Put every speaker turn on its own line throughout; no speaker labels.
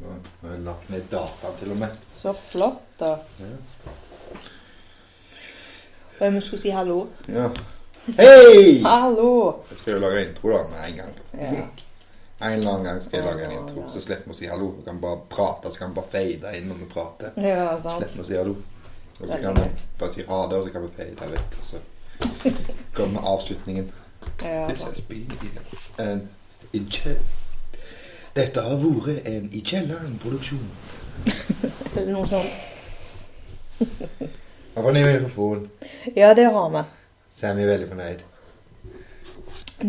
Jeg har lagt ned dataen til og med.
Så flott, da.
Ja.
Og vi skulle si hallo.
Ja. Hei!
Hallo!
Jeg skal jo lage intro da, med en gang.
Ja.
En eller annen gang skal jeg lage en intro, så slipper vi å si hallo. Vi kan bare prate, så kan vi bare fade inn når vi prater.
ja, sant.
Slipper å si hallo. Og så kan vi bare si ha det, og så kan vi fade vekk, og så kommer avslutningen.
Ja,
This
sant.
has been in- an in kje- Dette har vært en I kjelleren-produksjon.
Eller noe sånt.
Han får ny mikrofon.
Ja, det har vi.
Sam er veldig fornøyd.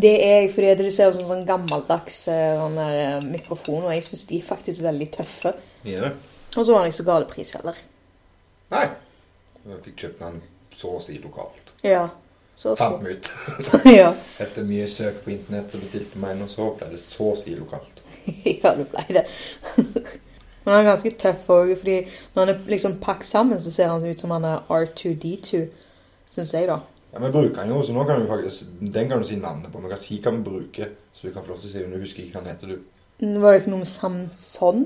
Det er jeg, fordi det ser ut som en sånn gammeldags eh, sånn der, eh, mikrofon, og jeg syns de er faktisk veldig tøffe.
Mye det?
Og så var den ikke så gal i pris heller.
Nei. Jeg fikk kjøpt den så å si lokalt.
Ja. Så
Fant
fint.
vi ut.
ja.
Etter mye søk på internett så bestilte vi en, og så ble det så å si lokalt.
ja, det ble det. Men han er ganske tøff òg, fordi når han er liksom pakket sammen, så ser han ut som han er R2D2, syns jeg, da.
Ja, Vi bruker den jo, så nå kan vi faktisk, den kan du si navnet på. Vi kan si hva vi bruker, så du kan få lov til å si om du husker ikke hva den heter. du.
Var det ikke noe med Samson?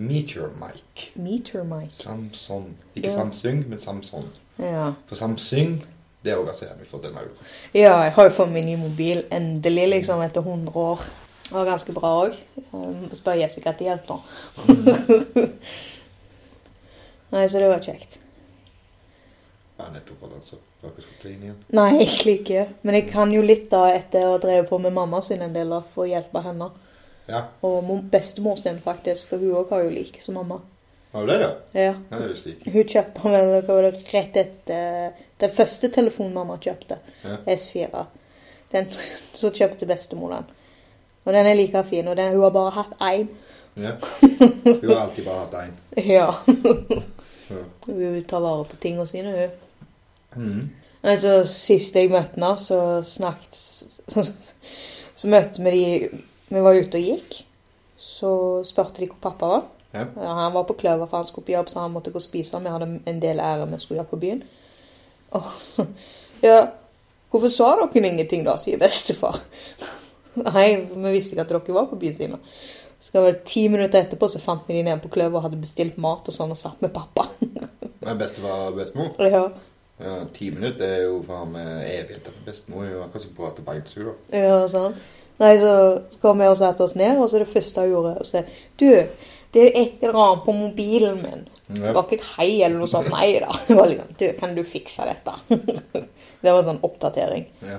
Meteor Mike.
Meter Mike.
Samson. Ikke
Ja.
Samsung, men Samson.
Ja.
For Samsung, det altså òg ser vi for denne uka.
ja, jeg har jo fått min ny mobil endelig, liksom, etter 100 år. Det var ganske bra òg. Spør Jessica til hjelp nå. Nei, så det var kjekt.
Ja, nettopp for den, så dere skulle ta inn igjen.
Nei, egentlig ikke. Men jeg kan jo litt da etter å ha drevet på med mamma sin en del, da, for å hjelpe henne.
Ja,
Og mor- bestemor sin, faktisk, for hun òg har jo lik som mamma.
var det det, ja?
Ja.
Ja, det visste jeg ikke.
Hun kjøpte den vel hva var det, rett etter den første telefonen mamma kjøpte,
Ja.
S4. Den, så kjøpte bestemor den. Og den er like fin, og den, hun har bare hatt én.
Ja. Hun har alltid bare hatt én.
Ja.
så.
Hun tar vare på tingene sine, hun.
Mhm.
Altså, Sist jeg møtte henne, så snakket Så, så møtte vi de Vi var ute og gikk. Så spurte de hvor pappa var.
Ja.
Ja, Han var på Kløver, for han skulle på jobb, så han måtte gå og spise. Vi hadde en del ærend vi skulle gjøre på byen. Og, ja, 'Hvorfor sa dere ingenting, da?' sier bestefar. Nei, vi visste ikke at dere var på byen, sier vi. Så det var ti minutter etterpå så fant vi de nede på Kløver og hadde bestilt mat og sånn og satt med pappa.
Men Bestefar og bestemor?
Ja,
Ja, Ti minutter er jo faen meg evigheter for bestemor. Det er jo akkurat som på at det beinsur, da.
Ja, sant. Nei, så kom jeg og satte oss ned, og så det første jeg gjorde, og så Du, det er et eller annet på mobilen min. Det var
Ja.
ikke et hei eller noe sånt. Nei da. Det var liksom Du, kan du fikse dette? Det var en sånn oppdatering.
Ja.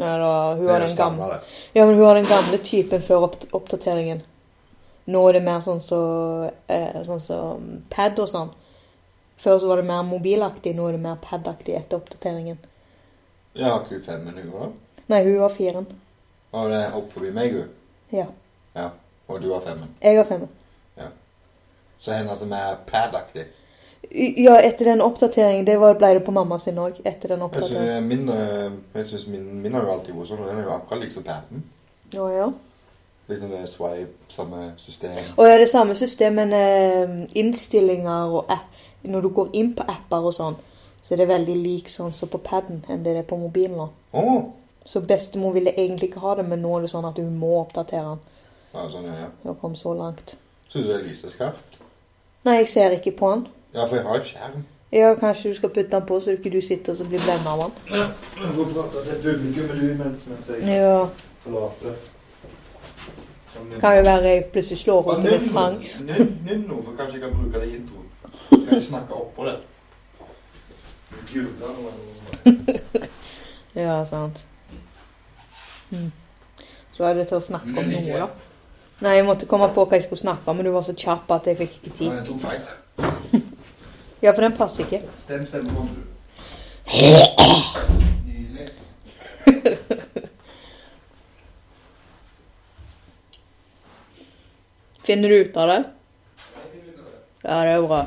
Ja, da, hun
Det er jo
har den gamle,
standard, det.
ja, men hun har den gamle typen før opp oppdateringen. Nå er det mer sånn som så, eh, sånn som pad og sånn. Før så var det mer mobilaktig, nå er det mer padaktig etter oppdateringen.
Jeg har ikke fem minutter, da.
Nei, hun har firen.
Og det er opp forbi meg, hun.
Ja.
Ja. Og du har femmen.
Jeg har femmer.
Så henne som er pad-aktig.
Ja, etter den oppdateringen. Det var, ble det på mamma sin òg. Etter den
Jeg
oppdateringen.
syns min, øh, jeg synes min, min har jo alltid vært sånn, og den er jo akkurat liksom paden.
Å ja.
Litt sånn der swipe, samme system.
Og ja, det samme systemet med innstillinger og app. Når du går inn på apper og sånn, så er det veldig lik sånn som på paden enn det er på mobilen nå.
Å!
Så bestemor ville egentlig ikke ha det, men nå er det sånn at hun må oppdatere den.
Ja, sånn, ja, ja.
Hun har kommet så langt.
Syns du det lyser skarpt?
Nei, jeg ser ikke på den.
Ja, for jeg har et skjerm.
Ja, kanskje du skal putte den på, så ikke du sitter og så blir blendet av den.
Jeg får prate til publikum med du imens, mens
Ja,
forlater. Sånn,
kan jo være jeg plutselig slår opp en sang.
Nynn nå, for kanskje jeg kan bruke det i introen. Skal jeg snakke oppå det? Gud, da må jeg-
Ja, sant. Mm. Så er det til å snakke om
Men
noe,
ikke-
da. Nei, jeg måtte komme på hva jeg skulle snakke om, men du var så kjapp at jeg fikk ikke
Nei,
tid.
Jeg tok feil.
Ja, for den passer ikke.
Stem, stem, kom du. Nydelig.
Finner du ut av det? Ja, det er bra.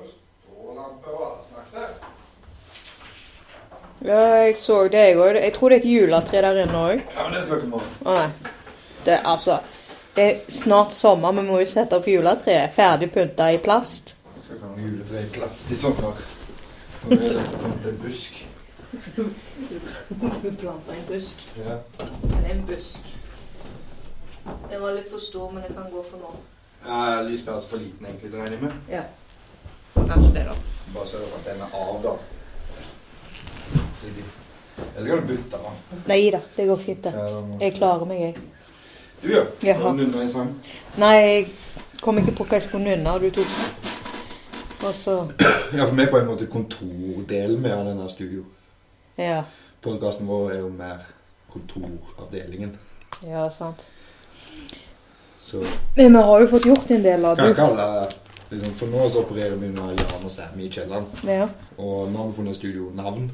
Strålampe og alt slags der.
Ja, jeg så det, jeg òg. Jeg tror det er et juletre der inne òg.
Ja, men det skal ikke måle.
Å nei. Det, altså Det er snart sommer, vi må jo sette opp juletreet. Ferdig pynta i plast.
Det skal ikke ha noe juletre i plast i sommer. Nå er det kommet en busk.
Du planter en busk.
Ja.
Det er en busk. Den var litt for stor, men den kan gå for nå.
Ja, lyspæra er altså for liten egentlig, det regner jeg med.
Ja. Kanskje det, da.
Bare sørg for at den er av, da. Ellers kan du bytte den.
Nei da, det går fint, det.
Ja, da må-
Jeg klarer meg, jeg.
Du, ja.
Jaha.
Nå nynner jeg en sang.
Nei, jeg kom ikke på hva jeg skulle nynne, og du tok den. Og så
Ja, for vi er på en måte kontordelen med av denne studio.
Ja.
Podkasten vår er jo mer kontoravdelingen.
Ja, sant.
Så
Men vi har jo fått gjort en del av
kan jeg
det.
kalle liksom, For nå så opererer vi med Jan og Sammy i kjelleren.
Ja,
Og nå har vi funnet studionavn,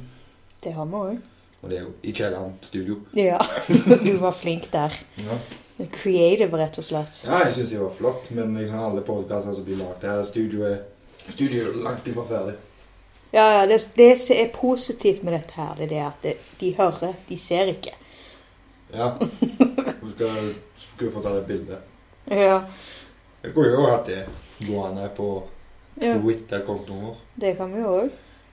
det har vi òg.
og det er jo I kjelleren studio.
Ja. Du var flink der.
Ja,
Creative, rett og slett.
ja jeg syns det var flott, men liksom alle podkaster som blir lagd her Studioet Studioet er langt ifra ferdig.
Ja, ja, det, det som er positivt med dette her, det er det at det, de hører, de ser ikke.
Ja. Du skal, skulle få ta det bildet.
Ja,
Jeg kunne jo hatt det gående på Twitter-kontoen vår.
det kan vi jo òg.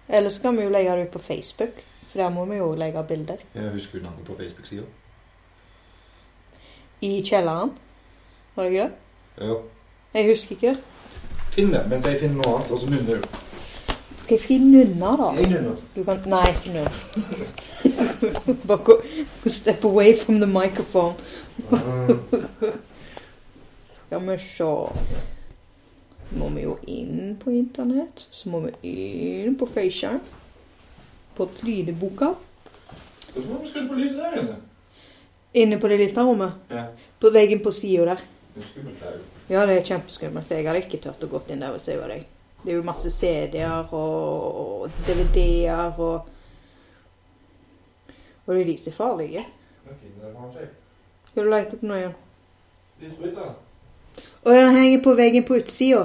Eller så kan vi jo legge det ut på Facebook, for der må vi jo òg legge bilder.
Jeg husker jo navnet på Facebook-sida.
I kjelleren. Var det ikke det?
Ja.
Jeg husker ikke.
Finn det, mens jeg finner noe annet, og så nynner du.
Hva skal jeg nynne, da?
Jeg nynner.
Du kan Nei, ikke nynne. Bare gå Step away from the microphone.
Mm.
Skal vi se Må vi jo inn på internett. Så må vi inn på FaceTime. På 3D-boka.
Hvorfor skal du på lyset der inne?
Inne på det lille rommet.
Ja.
På veggen på sida der.
Det er skummelt der.
Ja, det er kjempeskummelt. Jeg hadde ikke turt å gå inn der hvis jeg var deg. Det er jo masse CD-er og og DVD-er og Og det er de som er farlige.
Ok, der har han seg.
Skal du lete på noe igjen?
Lysbryter.
Å, den henger på veggen på utsida.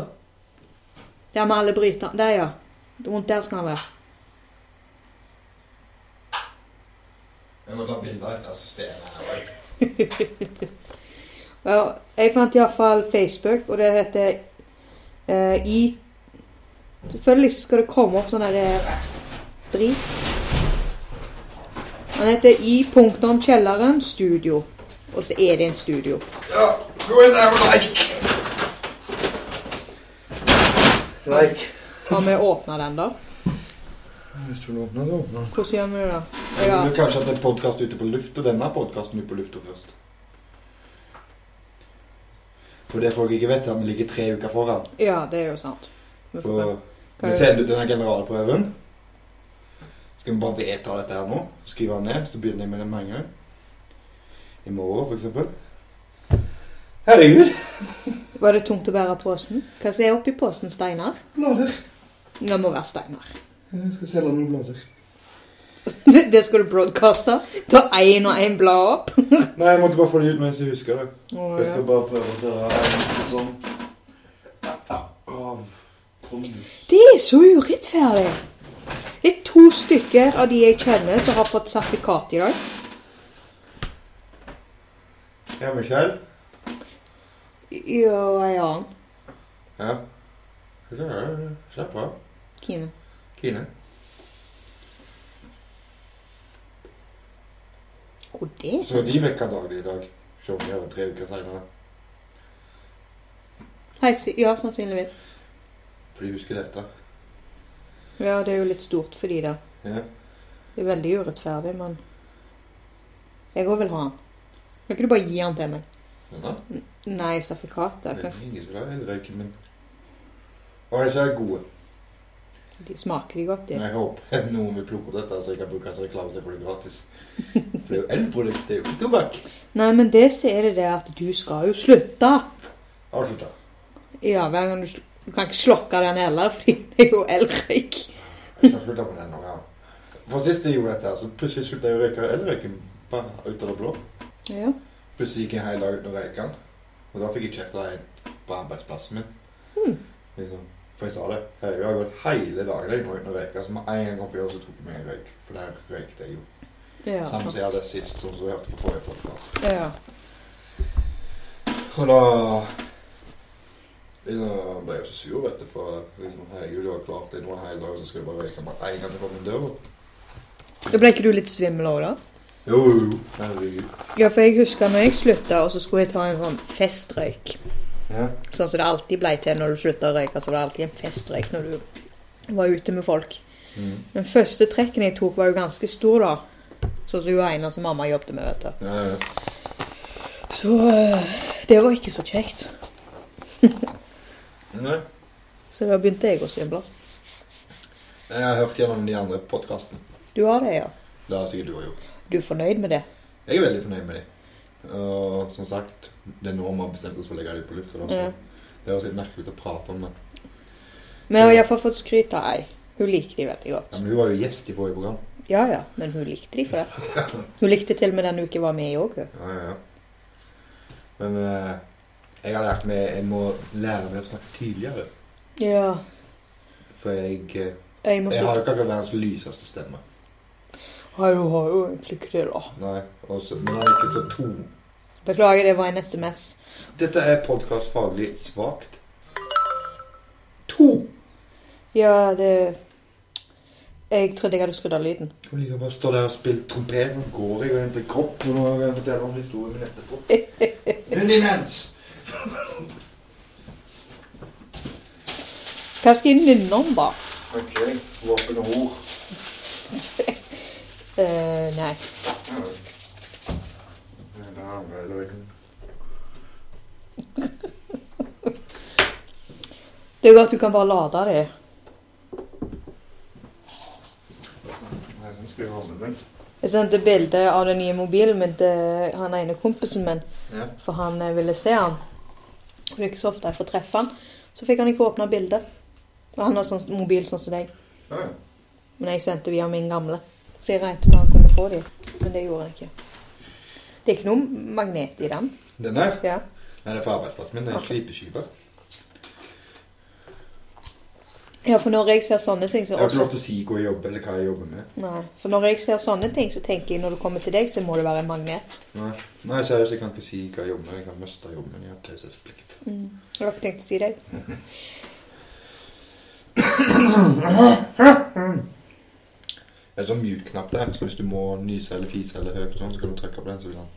Der med alle bryterne. Der, ja. Rundt der skal han være.
Jeg må ta bilder av dette systemet her. også.
Ja, jeg fant iallfall Facebook, og det heter eh, I Selvfølgelig skal det komme opp sånn der drit. Han heter I punktum kjelleren studio. Og så er det en studio.
Ja, gå inn der og like. Like.
Har vi åpna den, da?
Hvis du vil åpne, så åpne.
Hvordan gjør vi det, da?
Jeg
Ja.
vil kanskje at en podcast ute på luft, og denne podcasten ute på luft først. For det folk ikke vet, er at vi ligger tre uker foran.
ja, det er jo sant. Vi får
For
Hva
vi
er-
sender ut denne generalprøven. Skal vi bare vedta dette her nå? Skrive den ned, så begynner jeg med den med en gang. I morgen, for eksempel. Herregud!
vente. Var det tungt å bære posen? Hva som er oppi posen? Steinar?
Blader.
Det må være Steinar.
Jeg skal selge noen blader.
det skal du broadcaste. Ta én og én blad opp.
Nei, jeg måtte bare få det ut mens jeg husker det.
Å,
Jeg
ja.
skal bare prøve å ta en sånn av pondus.
Det er så urettferdig. Det er to stykker av de jeg kjenner som har fått sertifikat i dag.
Ja, Michelle.
Ja, og en annen.
Ja. Ja, Slapp av.
Kine.
Kine.
Hvor det?
Så de vekker daglig i dag. Se om vi gjør det tre uker senere.
Hei, si- ja, sannsynligvis.
For de husker dette.
Ja, det er jo litt stort for de da.
Ja.
Det er veldig urettferdig, men Jeg òg vil ha den. Kan ikke du bare gi den til meg?
Denne?
Nei, sertifikatet.
Det
Kan
er ingen som vil ha elrøyken min. Og det er ikke gode.
de smaker de godt, de?
Jeg håper noen vil plukke opp dette, så jeg kan bruke det som reklame så jeg får det gratis. For det er jo elprodukt, det er jo ikke tobakk.
Nei, men det så er det det at du skal jo slutte.
Avslutta.
Ja, hver gang du sl- Du kan ikke slokke den heller, fordi det er jo elrøyk.
Jeg skal slutte med den nå, ja. For sist jeg gjorde dette, her, så plutselig slutta jeg å røyke elrøyken bare ut av det blå.
Ja.
Plutselig gikk jeg en hel dag uten å røyke den. Og da fikk jeg kjeft av en på arbeidsplassen min.
Hmm.
Liksom. For jeg sa det. «Hei, Jeg har gått hele dagen jeg nå uten å røyke. Så med en gang opp i år så tok jeg meg en røyk. For der røykte jeg jo.
Ja,
Samme
sant.
som jeg hadde sist, som du hørte på forrige podcast.
ja.
Og da liksom, ble jeg jo så sur, vet du, for liksom, herregud, du har klart det nå en hel dag, så skal du bare røyke bare en gang til på min dør.
Ja, Ble ikke du litt svimmel òg, da?
Jo, jo, jo. Herregud.
Ja, for jeg husker når jeg slutta, og så skulle jeg ta en sånn festrøyk.
Ja.
Sånn som det alltid ble til når du slutta å røyke. Så var det alltid en festrøyk når du var ute med folk.
Mm.
Den første trekken jeg tok, var jo ganske stor, da. Sånn som hun ene som mamma jobbet med, vet du.
Ja, ja.
Så øh, det var ikke så kjekt.
Nei.
Så da begynte jeg å symle.
Jeg har hørt gjennom de andre podkastene.
Du har det, ja.
Det har sikkert du òg gjort.
Du er fornøyd med det?
Jeg er veldig fornøyd med dem. Og som sagt, det er nå vi har bestemt oss for å legge dem på lufta. da, så
Ja.
Det høres litt merkelig ut å prate om det.
Men jeg har iallfall fått skryt av ei. Hun liker de veldig
Ja,
godt.
men Hun var jo gjest i forrige program.
Ja ja, men hun likte de før. Hun likte til og med den uken jeg var med i òg, hun.
Ja, ja, ja. Men eh, jeg har lært meg Jeg må lære meg å snakke tydeligere.
Ja.
For jeg, eh,
Jeg må
jeg har
slutte.
ikke akkurat verdens lyseste stemme.
Ja, hun har jo egentlig ikke det, da.
Nei, og så- men den er ikke så to.
Beklager, det var en SMS.
Dette er podkast faglig svakt. To!
Ja, det Jeg trodde jeg hadde skrudd av lyden.
Kan like bare stå der og spille trompet. Nå går jeg og henter kopp, og nå kan jeg fortelle om historien min etterpå. Men imens!
Hva skal jeg nynne om, da?
Ok, våpen og hor.
Eh, nei. Det er jo at du kan bare lade det. Jeg sendte bilde av den nye mobilen min til han ene kompisen min,
Ja.
for han eh, ville se han. For Det er ikke så ofte jeg får treffe han. Så fikk han ikke åpna bildet. Og han har sånn mobil sånn som deg.
Ja, ja.
Men jeg sendte via min gamle. Så jeg regnet med han kunne få dem. Men det gjorde han ikke. Det er ikke noe magnet i den.
Den her?
Ja.
Nei, det er fra arbeidsplassen min. Det er en slipeskive.
Ja, for når jeg ser sånne ting, så
Jeg har ikke
også
lov til å si hvor jeg jobber, eller hva jeg jobber med.
Nei, for når jeg ser sånne ting, så tenker jeg når det kommer til deg, så må det være en magnet.
Nei, Nei seriøst, jeg kan ikke si hva jeg jobber med. Jeg kan miste jobben min. Jeg har taushetsplikt.
Jeg har ikke tenkt å si deg.
Det er en sånn mjuk knapp der, så hvis du må nyse eller fise eller høyt, og sånn, så kan du trykke på den, så vil han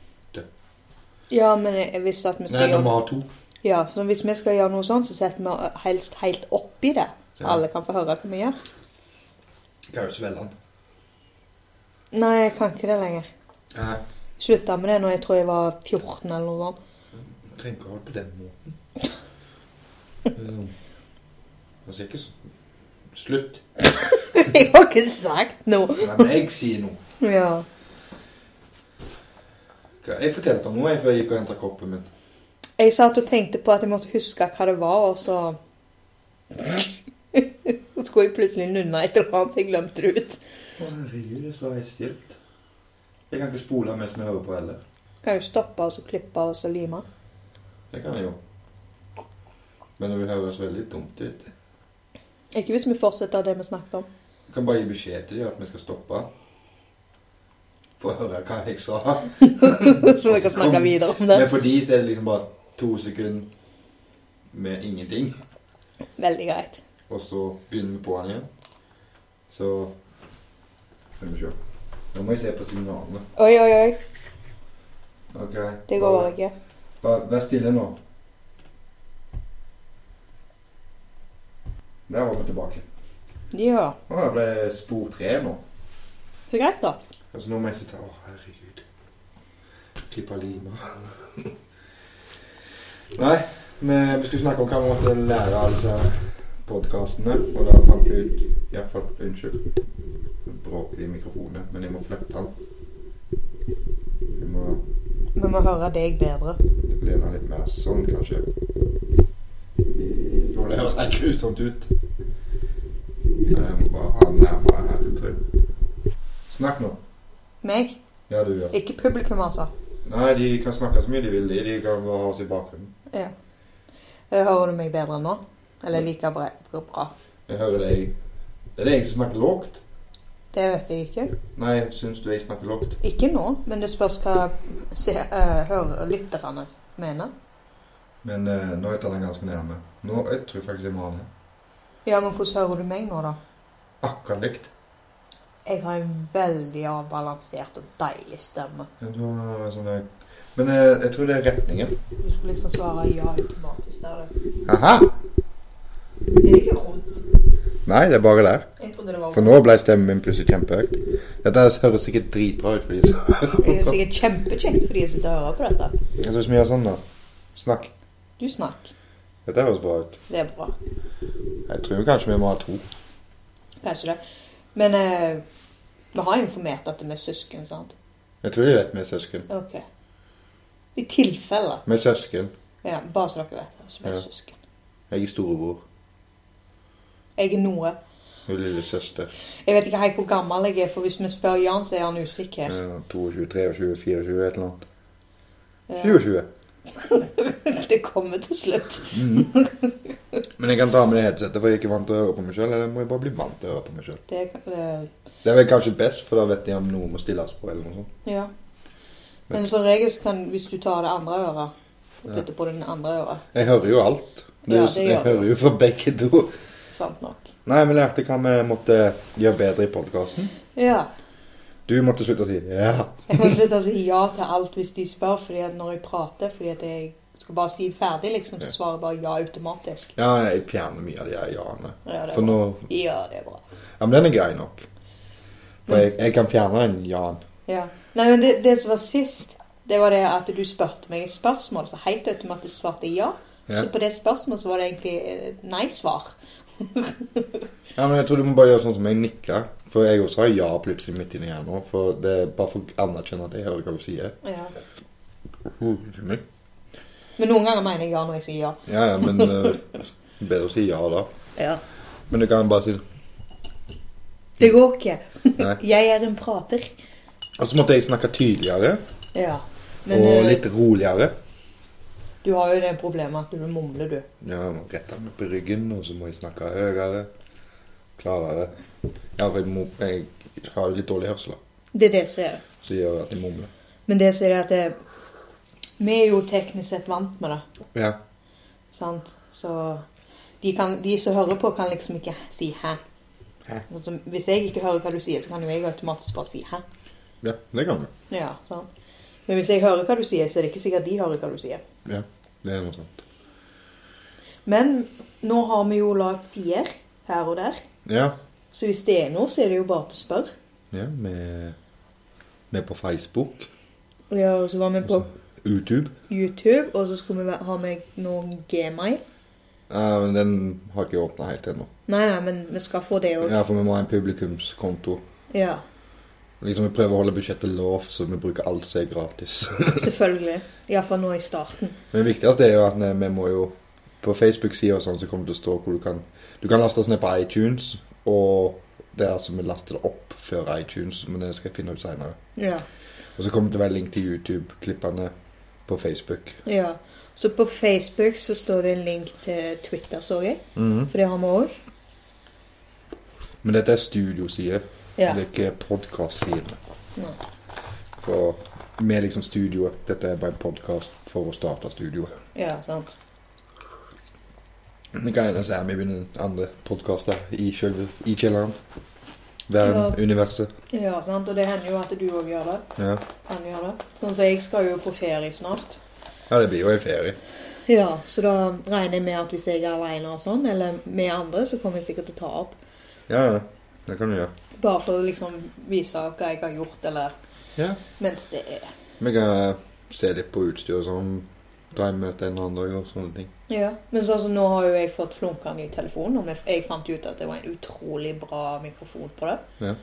Ja, men jeg- hvis, at vi skal
Nei, når vi
gjøre,
har to.
ja, for hvis vi skal gjøre noe sånn, så setter vi helst helt oppi det. Så
Ja.
alle kan få høre hva vi gjør.
Kan jo svelge den.
Nei, jeg kan ikke det lenger.
Nei,
Slutta med det når jeg tror jeg var 14 eller noe sånt.
jeg trenger ikke å ha det på den måten. Mm. Det er ikke sånn. Slutt.
Jeg har ikke sagt noe.
Nei, men jeg sier noe.
Ja.
Hva- Jeg fortalte om noe jeg, før jeg gikk og hentet koppen min.
Jeg satt og tenkte på at jeg måtte huske hva det var, og så Så skulle jeg plutselig nunne et eller annet, så jeg glemte det ut.
Å, Herregud, så har jeg stilt. Jeg kan ikke spole mens vi hører på heller.
Kan jo stoppe og så klippe og så lime.
Det kan jeg jo. Men det vil høres veldig dumt ut.
Ikke hvis vi fortsetter det vi snakket om.
Jeg kan bare gi beskjed til dem at vi skal stoppe. For å høre hva jeg sa.
Så vi kan snakke videre om det.
Men for de så er det liksom bare to sekunder med ingenting.
Veldig greit.
Og så begynner vi på den igjen. Så Skal vi se. Nå må jeg se på signalene.
Oi, oi, oi.
Ok.
Det går bare ikke.
Bare vær stille nå. Der var vi tilbake.
Ja.
Å, jeg ble spor tre nå.
Så greit, da.
Altså nå må jeg sitte Å, herregud. Klippa lima. Nei, vi, vi skulle snakke om hva vi måtte lære av disse podkastene. Og da fant vi ut Iallfall Unnskyld. Bråker i mikrofonen. Men jeg må flytte den. Jeg må
Vi må høre deg bedre.
lene litt mer sånn, kanskje. Nå, det høres helt grusomt ut. Jeg må bare ha den nærmere her, tror jeg. Snakk nå.
Meg?
Ja, du gjør.
Ikke publikum, altså.
Nei, de kan snakke så mye de vil. de. De kan bare ha oss i bakgrunnen.
Ja. Eh, Hører du meg bedre nå? Eller like bra? bra?
Jeg hører deg. Er det jeg som snakker lågt?
Det vet jeg ikke.
Nei, syns du jeg snakker lågt?
Ikke nå, men det spørs hva se, eh, hører lytterne mener.
Men eh, nå er jeg den ganske nærme. Nå, Jeg tror faktisk jeg må ha den her.
Ja, men hvordan hører du meg nå, da?
akkurat likt.
Jeg har en veldig avbalansert og deilig stemme.
Ja, du har sånn der Men eh, jeg tror det er retningen.
Du skulle liksom svare ja automatisk der. du.
Aha!
Er det ikke rundt?
Nei, det er bare der.
Jeg trodde det var
For nå ble stemmen min plutselig kjempehøyt. Dette her høres sikkert dritbra ut for de som
Det er jo sikkert kjempekjekt for de som sitter og hører på dette.
Jeg synes vi gjør sånn, da. Snakk.
Du snakk.
Dette høres bra ut.
Det er bra.
Jeg tror kanskje vi må ha to.
Kanskje det. Men eh, vi har informert at vi er søsken, sant?
Jeg tror de vet vi er søsken.
Ok. I tilfelle.
Vi er søsken.
Ja, bare så dere vet at vi er
Ja.
søsken.
Jeg er storebror.
Jeg er Nore.
Hun er lillesøster.
Jeg vet ikke helt hvor gammel jeg er, for hvis vi spør Jan, så er han usikker.
Eh, 22, 23, 24, et eller annet.
Ja.
27.
Eh, Det kommer til slutt.
Mm. Men jeg kan ta med det headsetet, for jeg er ikke vant til å høre på meg sjøl. Eller må jeg bare bli vant til å høre på meg sjøl?
Det, det,
Det er vel kanskje best, for da vet jeg om noe må stilles på, eller noe sånt.
ja. Men som regel så kan, hvis du tar det andre øret, og
Ja.
putter på det andre øret,
Jeg hører jo alt. Det,
Ja,
er jo-
det gjør
jeg
du.
hører jo fra begge to.
sant nok.
Nei, vi lærte hva vi måtte gjøre bedre i podkasten.
Ja.
Du måtte slutte å si 'ja'.
Jeg må slutte å si ja til alt hvis de spør, fordi at når jeg prater, fordi at jeg skal bare si det ferdig, liksom, så
Ja.
svarer jeg bare ja automatisk.
Ja, jeg fjerner mye av de her ja-ene.
Ja, det er
For nå
bra. Ja, det er bra.
Ja, men den er grei nok. For jeg, jeg kan fjerne en ja-en.
Ja. Nei, men det, det som var sist, det var det at du spurte meg et spørsmål, så helt automatisk svarte jeg ja.
Ja.
Så på det spørsmålet så var det egentlig eh, et nei-svar.
ja, men jeg tror du må bare gjøre sånn som jeg nikker. For jeg også har ja plutselig midt inni her nå. For det er bare for å anerkjenne at jeg hører hva hun sier.
Ja.
Hovedlig.
Men noen ganger mener jeg ja når jeg sier ja.
Ja, ja, men eh, bedre å si ja da.
Ja.
Men du kan bare si
Det går ikke.
nei.
Jeg er en prater.
Og så måtte jeg snakke tydeligere
Ja. Men
og
eh,
litt roligere.
du har jo det problemet at du mumler, du.
Ja, jeg må rette meg på ryggen, og så må jeg snakke høyere. Klarere. Ja, for jeg, må, jeg har jo litt dårlig hørsel, da.
Det er det som er det.
Så gjør at jeg mumler.
Men det som er det at eh, vi er jo teknisk sett vant med det.
Ja.
Sant? Så de, kan, de som hører på, kan liksom ikke si 'hæ'.
Hæ?
Sånn som- hvis jeg ikke hører hva du sier, så kan jo jeg automatisk bare si 'hæ'.
Ja, det kan du.
Ja, sant? Men hvis jeg hører hva du sier, så er det ikke sikkert de hører hva du sier.
Ja, det er noe sånt.
Men nå har vi jo lagd sider her og der.
Ja,
Så hvis det er noe, så er det jo bare til å spørre.
ja vi vi er på Facebook,
Ja, og så var vi på
YouTube.
YouTube, og så skulle vi væ- ha med noen gmail.
Ja, men den har ikke jeg åpnet helt ennå.
Nei, nei, men vi skal få det òg.
Ja, for vi må ha en publikumskonto.
Ja,
Liksom Vi prøver å holde budsjettet lavt, så vi bruker alt som er gratis.
selvfølgelig. Iallfall nå i starten.
men det viktigste er jo at eh, vi må jo På Facebook-sida og sånn så kommer det til å stå hvor du kan Du kan laste oss ned på iTunes, og det er altså vi laster det opp før iTunes, men det skal jeg finne ut seinere.
Ja.
Og så kommer det til å være link til YouTube-klippene på Facebook.
ja. Så på Facebook så står det en link til Twitter, så jeg. For det har vi òg.
Men dette er studiosider.
Ja.
Det er ikke podkast-siden.
Nei.
For vi er liksom studioet. Dette er bare en podkast for å starte studioet.
ja, sant.
Vi kan gjerne si at vi begynner andre podkaster i, selve- i kjelleren. Verden,
Ja.
universet.
Ja, sant. Og det hender jo at du òg gjør det.
Ja.
Han gjør det. Sånn som jeg skal jo på ferie snart.
ja, det blir jo en ferie.
Ja, så da regner jeg med at hvis jeg er aleine og sånn, eller med andre, så kommer jeg sikkert til å ta opp.
Ja, ja. Det kan vi gjøre.
Bare for å liksom vise hva jeg har gjort, eller
Ja.
mens det er
Vi kan eh, se litt på utstyr og sånn. Ta en møte en annen dag og sånne ting.
Ja, men sånn som nå har jo jeg fått flunka ny telefon, og vi- jeg fant ut at det var en utrolig bra mikrofon på det.
Ja.
I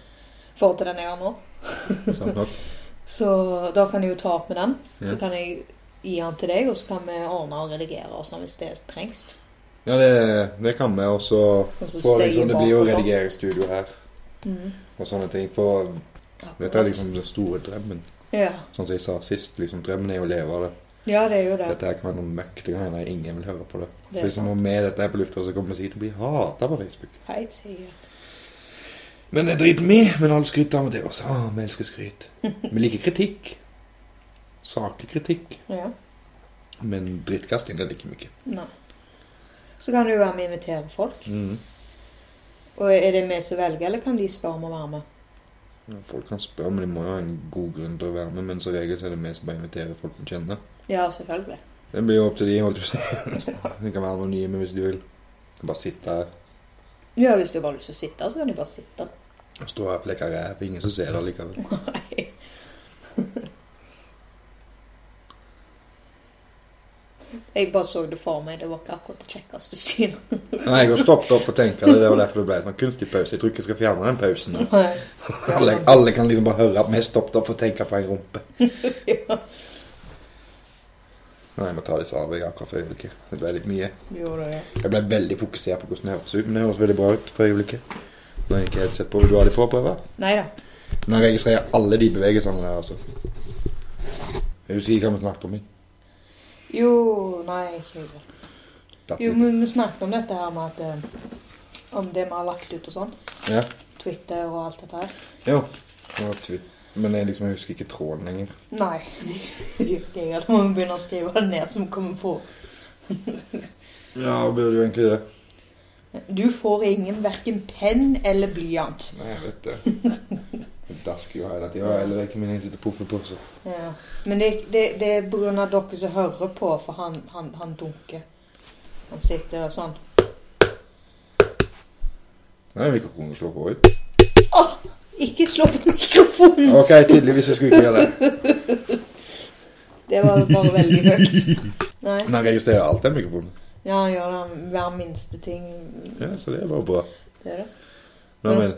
forhold til den jeg har nå.
Sant nok.
Så da kan jeg jo ta opp med den.
Ja.
Så kan jeg gi den til deg, og så kan vi ordne og redigere og sånn hvis det trengs.
Ja, det, det kan vi. Og så
Og så
får liksom Det
stay
blir jo
bak og sånn.
redigeringsstudio her
Mhm.
og sånne ting. For dette er liksom den store drømmen.
ja.
Sånn som jeg sa sist, liksom, drømmen er jo å leve av det.
ja, det er jo det.
Dette her kan være noe møkk. Det kan hende ingen vil høre på det.
Det
For
er
liksom,
sant.
Når vi er dette her på lufta, så kommer vi sikkert til å bli hata på Facebook.
Helt sikkert.
Men det driter vi i. Men alle skryter av og til oss. Ah, vi elsker skryt. Vi liker kritikk. Saklig kritikk.
Ja.
Men drittkasting, det liker vi ikke.
Nei. Så kan det jo være med å invitere folk.
Mm.
Og er det vi som velger, eller kan de spørre om å være med?
Folk kan spørre, men de må jo ha en god grunn til å være med. Men som regel så er det vi som bare inviterer folk vi kjenner.
Ja, selvfølgelig.
Det blir jo opp til de, holdt jeg på å si. De kan være anonyme hvis de vil. De kan Bare sitte her
Ja, hvis du bare har lyst til å sitte, så kan du bare sitte.
og stå her og leke ræv. Ingen som ser det likevel.
Nei. Jeg bare så det for meg. Det var ikke akkurat det kjekkeste synet.
Nei, jeg har stoppet opp og tenkt det. Det var derfor det ble en sånn kunstig pause. Jeg tror ikke jeg skal fjerne den pausen. nå. Alle, alle kan liksom bare høre at vi stoppet opp og tenker på en rumpe.
Ja.
Nei, jeg må ta disse av jeg akkurat for øyeblikket. Det ble litt mye.
Jo, det er.
Jeg ble veldig fokusert på hvordan det høres ut, men det høres veldig bra ut for øyeblikket. Nå har jeg ikke helt sett på. Vil du ha de få prøver?
Nei da.
Men jeg registrerer alle de bevegelsene der, altså. Jeg husker ikke hva vi snakket om. jeg.
Jo, nei, ikke det.
Datt
Jo,
litt.
men vi snakket om dette her med at eh, Om det vi har lagt ut og sånn.
Ja.
Twitter og alt dette her.
Jo. Det var tvitt. Men jeg liksom jeg husker ikke tråden lenger.
Nei, det gjør ikke jeg. Da må vi begynne å skrive det ned som vi kommer på.
Ja, burde jo egentlig det.
Du får ingen verken penn eller blyant.
Nei, jeg vet det. Jeg dasker jo hele tida. Eller ikke min jeg sitter og poffer på. Så.
Ja. Men det, det, det er på grunn av dere som hører på, for han, han, han dunker. Han sitter og sånn.
Nei, mikrofonen slår på ut.
Ikke slå på mikrofonen!
OK, tydeligvis jeg skulle ikke gjøre det.
Det var bare veldig høyt. Nei.
Men han registrerer alt, den mikrofonen.
Ja, han gjør det hver minste ting.
Ja, Så det var bra.
Det er det.
Nå,
Ja.
men,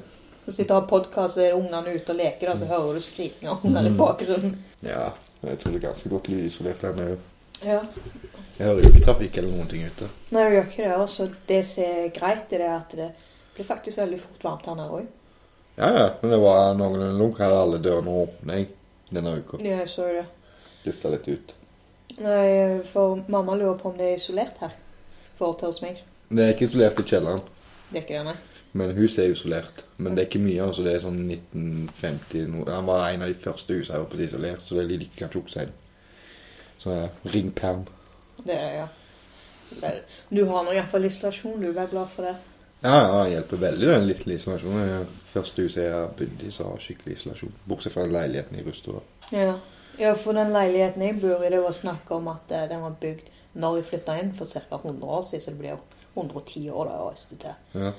Du sitter og har podkast, er ungene ute og leker, da, så hører du skriking av unger i bakgrunnen.
ja, jeg tror det er ganske godt lydisolert her nede.
Ja.
Jeg hører jo ikke trafikk eller noen ting ute.
Nei, jeg gjør ikke det. Også. Det som er greit, det er at det blir faktisk veldig fort varmt her nede òg.
Ja, ja, men det var noenlunde lunk. Hadde alle dørene åpne jeg, denne uka.
Ja, jeg så det.
Lufta litt ut.
Nei, for mamma lurer på om det er isolert her. For til hos meg.
Det er ikke isolert i kjelleren,
Det er ikke det, nei.
men huset er isolert. Men det er ikke mye, altså. Det er sånn 1950 no- Han var en av de første husene jeg var på isolert, så det ligger kanskje også en sånn ja, ringperm.
Det er det, ja. Vel, Du har nå iallfall isolasjon, du. Vær glad for det.
Ja, ja, det hjelper veldig den lille isolasjonen. Det er Første huset jeg har bodd i, så har skikkelig isolasjon. Bortsett fra leiligheten i Rustad.
Ja. ja, for den leiligheten jeg bor i, det var snakk om at eh, den var bygd når jeg flytta inn for ca. 100 år siden, så det blir jo 110 år da jeg reiste til.
Ja.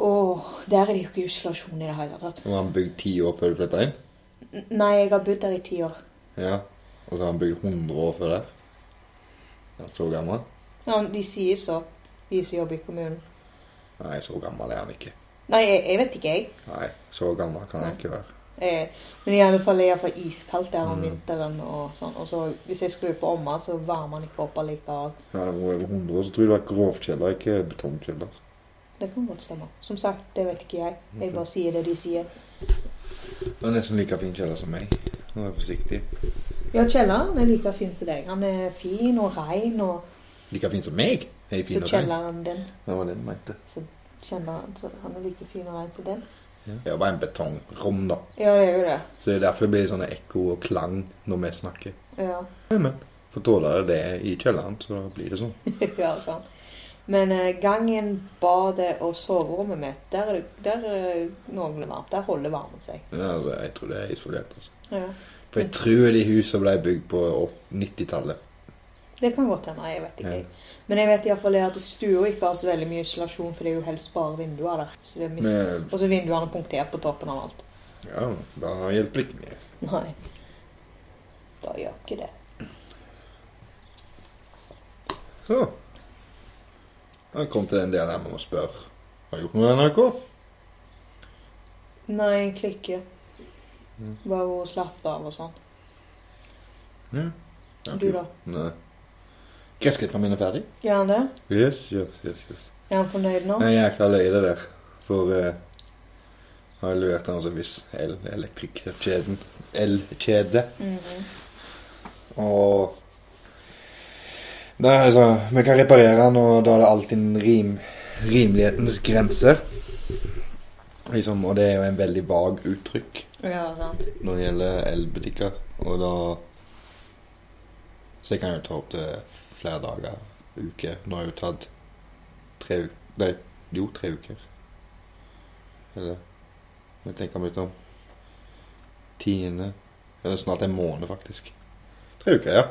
Og der er det jo ikke isolasjon i det hele tatt.
Og han bygd ti år før du flytta inn.
N- Nei, jeg har bodd der i ti år.
Ja. Og så har han bygd 100 år før det. Er han så gammel?
Ja, men de sier så, de som jobber i kommunen.
Nei, så gammel er han ikke.
Nei, jeg, jeg vet ikke, jeg.
Nei, så gammel kan han ikke være.
Eh, men i alle fall er det i alle fall iskaldt der om
Mm.
vinteren. Og sånn. Og så hvis jeg skrur på omma, så varmer den ikke opp allikevel.
Nei, det var over 100 år, så tror jeg det var grovkjeller, ikke betongkjeller.
Det kan godt stemme. Som sagt, det vet ikke jeg.
Mm,
Jeg bare sier det de sier.
Han er nesten like fin kjeller som meg. Nå er jeg forsiktig.
Ja, kjelleren er like fin som deg. Han er fin og rein, og
Like fin som meg? Hei, fin
så
og fin.
kjelleren din
Det var det jeg mente.
kjelleren, så Han er like fin og rein som den.
Det var en betongrom, da.
Ja, det er jo det.
Så det er derfor det blir sånne ekko og klang når vi snakker.
Ja,
For tåler det det i kjelleren, så da blir det sånn.
ja sånn. Men eh, gangen, badet og soverommet mitt, der er det, der er det noenlunde varmt. Der holder varmen seg.
Ja, altså, jeg tror det er isolert, altså.
Ja.
For jeg tror de husene ble bygd på opp- 90-tallet.
Det kan godt hende. Jeg vet ikke.
Ja.
jeg. Men jeg vet iallfall at stua ikke har så veldig mye isolasjon, for det er jo helst bare vinduer der. Så det er mis-
Men-
Og så er vinduene punktert på toppen av alt.
Ja, da hjelper det ikke mye.
Nei. Da gjør ikke det.
Så. Da kom til den delen jeg må spørre. Har du gjort noe i NRK?
Nei, egentlig ikke.
Mm.
Bare å slappe av og sånn.
Ja. Jeg har
Du
ikke
da?
gjort- Nei. Gressklipperen min er ferdig.
Gjør han det?
Yes, yes, yes. yes.
Er han fornøyd nå?
Det er jækla løye det der. For eh, har jeg levert den som viss el-elektrikkjeden. El-kjede.
Mhm.
Og det er altså, Vi kan reparere den, og da er det alltid en rim, rimelighetens grense. Liksom, og det er jo en veldig vag uttrykk
Ja, sant.
når det gjelder elbutikker. Og da Så jeg kan jo ta opp til flere dager, uker. Nå har jeg jo tatt tre uker Nei, jo, tre uker. Eller Jeg tenker meg litt om. Tiende Eller snart en måned, faktisk. Tre uker, ja.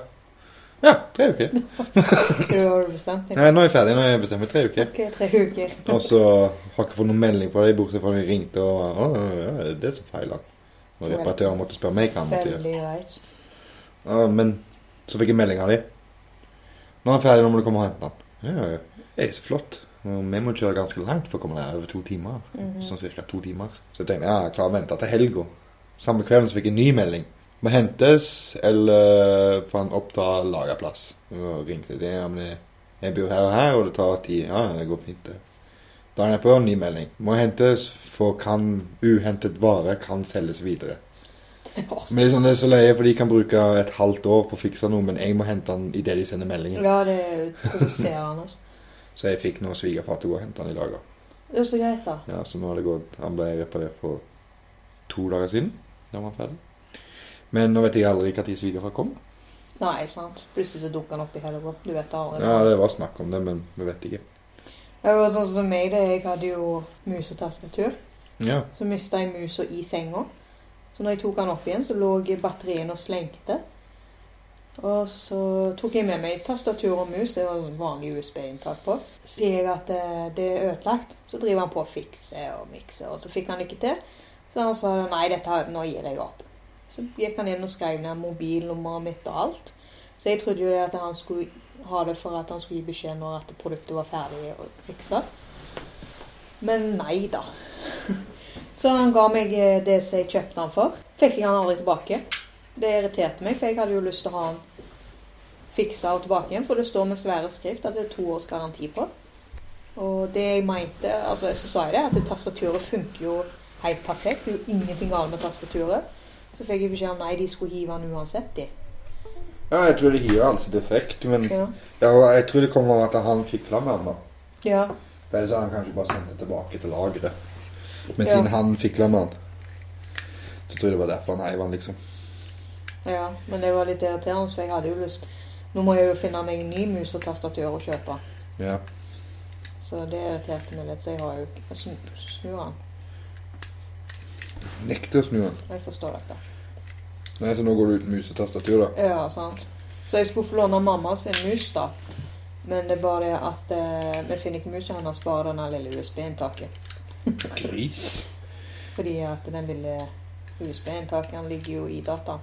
Ja, tre uker.
Du har du bestemt deg?
Nei, nå er jeg ferdig. Nå har jeg bestemt meg tre uker.
Ok, tre uker.
Og så har jeg ikke fått noen melding på det, bortsett fra at jeg ringte og Å, ja, det er det som feiler. Når reparatøren måtte spørre meg hva han måtte gjøre.
Veldig greit.
Ja, men så fikk jeg melding av dem. Nå er han ferdig, nå må du komme og hente han. Ja, ja, ja. Det er så flott. Og Vi må kjøre ganske langt for å komme der, over to timer.
Mhm.
Sånn cirka to timer. Så jeg tenkte ja, jeg klarer å vente til helga. Samme kvelden så fikk jeg en ny melding. Må hentes, eller får han oppta lagerplass. Og ringte de. Ja, men jeg, jeg bor her og her, og det tar tid. Ja, det går fint, det. Dagen etterpå, ny melding. Må hentes, for kan uhentet vare kan selges videre.
Det er awesome.
Men liksom det er så løye, for de kan bruke et halvt år på å fikse noe, men jeg må hente den idet de sender meldingen.
Ja, det er jo provoserende. ass.
Så jeg fikk nå svigerfar til å gå og hente den i dag. da.
Det er så greit, da.
Ja, så nå har det gått Han ble reparert for to dager siden. Da var han ferdig. Men nå vet jeg aldri når svigerfar kom.
Nei, sant. Plutselig så dukker han opp i helga. Du vet det aldri.
Ja, det var snakk om det, men vi vet ikke.
Det var sånn som meg, det. Jeg hadde jo musetastatur.
Ja.
Så mista jeg musa i senga. Så når jeg tok den opp igjen, så lå batterien og slengte. Og så tok jeg med meg tastatur og mus. Det var sånn vanlig USB-inntak på. Så Sier jeg at eh, det er ødelagt, så driver han på å fikse og mikse. Og så fikk han ikke til. Så han sa nei, dette her, nå gir jeg opp. Så gikk han inn og skrev ned mobilnummeret mitt og alt. Så jeg trodde jo det at han skulle ha det for at han skulle gi beskjed når at produktet var ferdig å fikse. Men nei da. Så han ga meg eh, det som jeg kjøpte han for. Fikk jeg han aldri tilbake. Det irriterte meg, for jeg hadde jo lyst til å ha han fiksa og tilbake igjen. For det står med svære skrift at det er to års garanti på. Og det jeg mente, altså så sa jeg det, at tastaturet funker jo helt perfekt. Det er jo ingenting galt med tastaturet. Så fikk jeg beskjed om nei, de skulle hive han uansett, de.
ja, jeg tror det gir altså defekt, men
Ja.
ja, og Jeg tror det kommer av at han fikla med den. da.
ja.
For Ellers hadde han kanskje bare sendt det tilbake til lageret. Men
Ja.
siden han fikla med den, så tror jeg det var derfor han eiv den, liksom.
Ja, men det var litt irriterende, for jeg hadde jo lyst Nå må jeg jo finne meg en ny mus og tastatur å kjøpe.
Ja.
Så det irriterte meg litt, så jeg har jo jeg sn- snur han.
Nekter å snu den.
Jeg forstår dette.
Nei, så nå går du uten mus og tastatur, da.
Ja, sant. Så jeg skulle få låne mamma sin mus, da. Men det er bare det at eh, vi finner ikke musa hennes, bare den her lille USB-inntaket.
Gris.
Fordi at den lille USB-inntaket ligger jo i dataen.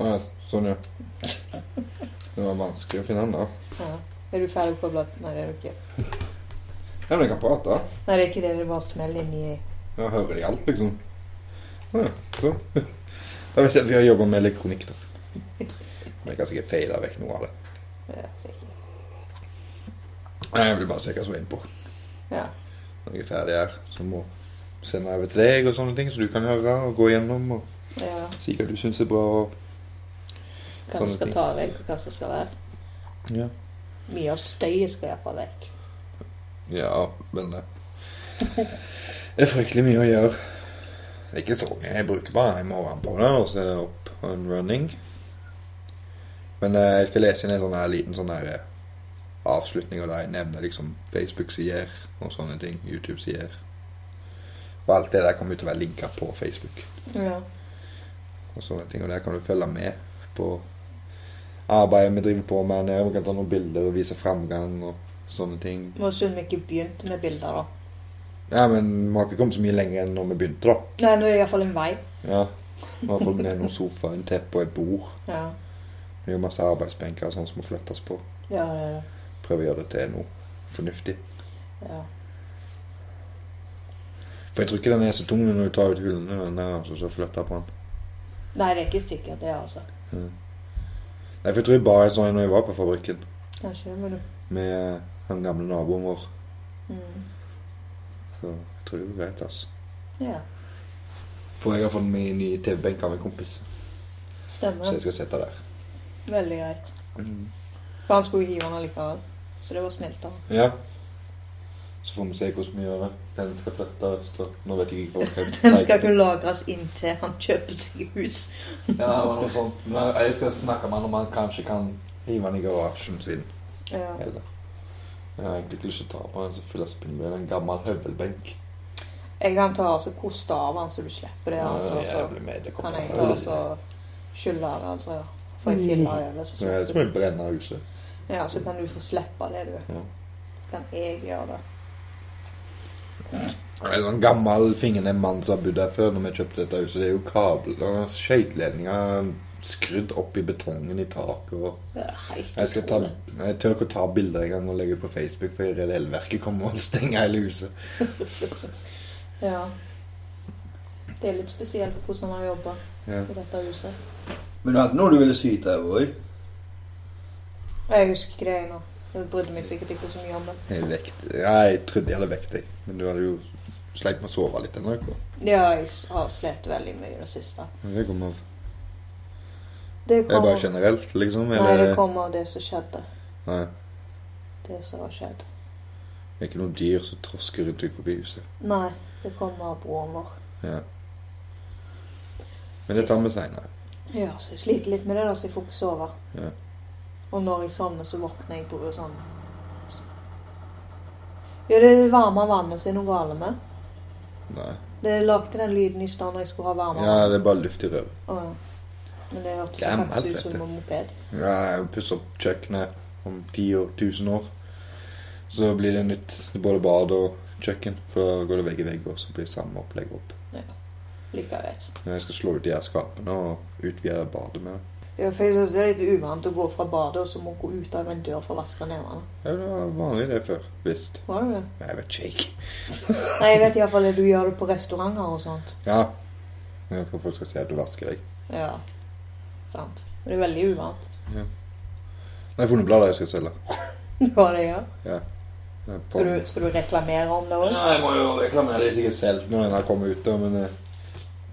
Ja, sånn, ja. Det var vanskelig å finne den, da.
Ja. Er du ferdig kobla? Nei, det er du ikke.
Ja, men jeg kan prate.
Nei, det er ikke det. Det er bare smell inni
Jeg hører de alt, liksom. Ja, sånn. Jeg vet ikke at vi har jobba med elektronikk, da. Men jeg kan sikkert fade vekk noe av det.
ja, sikkert.
Nei, Jeg vil bare se hva som er innpå.
ja.
Når jeg er ferdig her, så må sende over til deg og sånne ting, så du kan høre og gå gjennom og
ja.
si hva du syns er bra. og...
Hva som
Sånne
skal
ting.
ta vekk, og hva som skal være.
Ja.
Mye av støyet skal iallfall vekk.
ja, men det Det er fryktelig mye å gjøre. Det er ikke så mye. Jeg bruker bare en morgen på det, og så er det opp and running. Men eh, jeg skal lese inn en sånn her liten sånn her eh, avslutning, og der jeg nevner liksom Facebook-sider og sånne ting. YouTube-sider. Og alt det der kommer jo til å være linka på Facebook.
Ja.
og sånne ting. Og der kan du følge med på arbeidet vi driver på med her nede. Vi kan ta noen bilder og vise framgang og sånne ting.
Må synd vi ikke begynte med bilder, da.
Ja, men vi har ikke kommet så mye lenger enn når vi begynte, da.
Nei, nå er det iallfall en vei.
Ja. Vi har fått ned noen sofaer, en teppe og et bord.
Ja.
Vi har masse arbeidsbenker og sånn som må flyttes på.
Ja, det er det.
Prøve å gjøre det til noe fornuftig.
Ja.
For jeg tror ikke den er så tung når du tar ut hullene, den der altså, så flytter på den.
Nei, det er ikke sikkert, det, altså.
Nei, for jeg tror jeg bare sånn når jeg var på fabrikken
Kanskje, men du
med eh, han gamle naboen vår.
mm.
Så jeg tror det går greit, altså.
Ja,
For jeg har fått meg ny TV-benk av en kompis. Så
stemmer.
jeg skal sette der.
Veldig greit. For han skulle jo hive den likevel. Så det var snilt av han.
Ja. Så får vi se hvordan vi gjør det. Den skal flytte øst. Nå vet jeg ikke hvor den
Den skal kunne lagres inntil han kjøper seg hus.
Ja, det var noe sånt. Men jeg skal snakke med han om han kanskje kan hive den i garasjen sin.
Ja.
Eller Jeg har egentlig ikke lyst til å ta på den som fyller spinnved. En gammel høvelbenk.
Jeg kan ta og så koste av han så du slipper det. Altså, og så
Jævlig med, det
kan
kommer
jeg ta
aldri.
og så skylle det. Altså, får jeg filla over, så
Så Mm. jeg- så
slipper
må
du.
jeg brenne huset.
Ja, så kan du få slippe det, du.
Ja.
Kan jeg gjøre det?
En sånn gammel fingrende mann som har bodd her før, når vi kjøpte dette huset, det er jo kabler skøyteledninger skrudd opp i betongen i taket og Jeg skal ta, jeg tør ikke å ta bilder engang og legge ut på Facebook, for hele elverket kommer og stenger hele huset.
Ja. Det er litt spesielt hvordan han jobber
Ja.
i dette huset.
Men du hadde noe du ville syte over òg?
Jeg husker ikke det jeg nå. Jeg brydde meg sikkert ikke så mye om det.
Jeg, vekt, ja, jeg trodde jeg hadde vekt deg, men du hadde jo sleit med å sove litt ennå. ikke?
Ja, jeg s- har slitt veldig mye i det siste.
Men Det kommer av
Det
Er det
kommer,
bare generelt, liksom?
nei, det
Eller
kommer av det som skjedde.
Nei.
Det som har skjedd.
det er ikke noen dyr som trosker rundt i forbi huset?
Nei, det kommer av broren vår.
Men det tar vi seinere.
Ja, så jeg sliter litt med det, da, så jeg får ikke sove.
Ja.
Og når jeg sovner, så våkner jeg på sånn Ja, det er det varme vannet som er noe galt med.
Nei.
Det lagde den lyden i stad når jeg skulle ha varme
Ja,
vann.
det er bare luft i røret.
Å, ja. Men det hørtes jo
Gammelt,
faktisk ut
vet
som
du.
en moped.
Ja, jeg pusser opp kjøkkenet om 10 og 1000 år. Så blir det nytt. Både bad og kjøkken. For da går det vegg i vegg, og så blir det samme opplegg opp.
Like greit.
Men jeg skal slå ut de her skapene og utvide badet med det.
Ja, for jeg synes det er litt uvant å gå fra badet og så må gå ut av en dør for å vaske nevene.
Ja, det var vanlig det før. Visst.
Var det det?
Jeg vet ikke.
Nei, jeg vet iallfall at du gjør det på restauranter og sånt.
Ja. Men For folk skal si at du vasker deg.
Ja. Sant. Men det er veldig uvant.
Jeg har funnet blader jeg skal selge.
Hva det gjør.
Det er på-
Skal du, skal du reklamere om det òg?
Ja, jeg må jo reklamere det sikkert selv når den her kommer ut, da, men eh,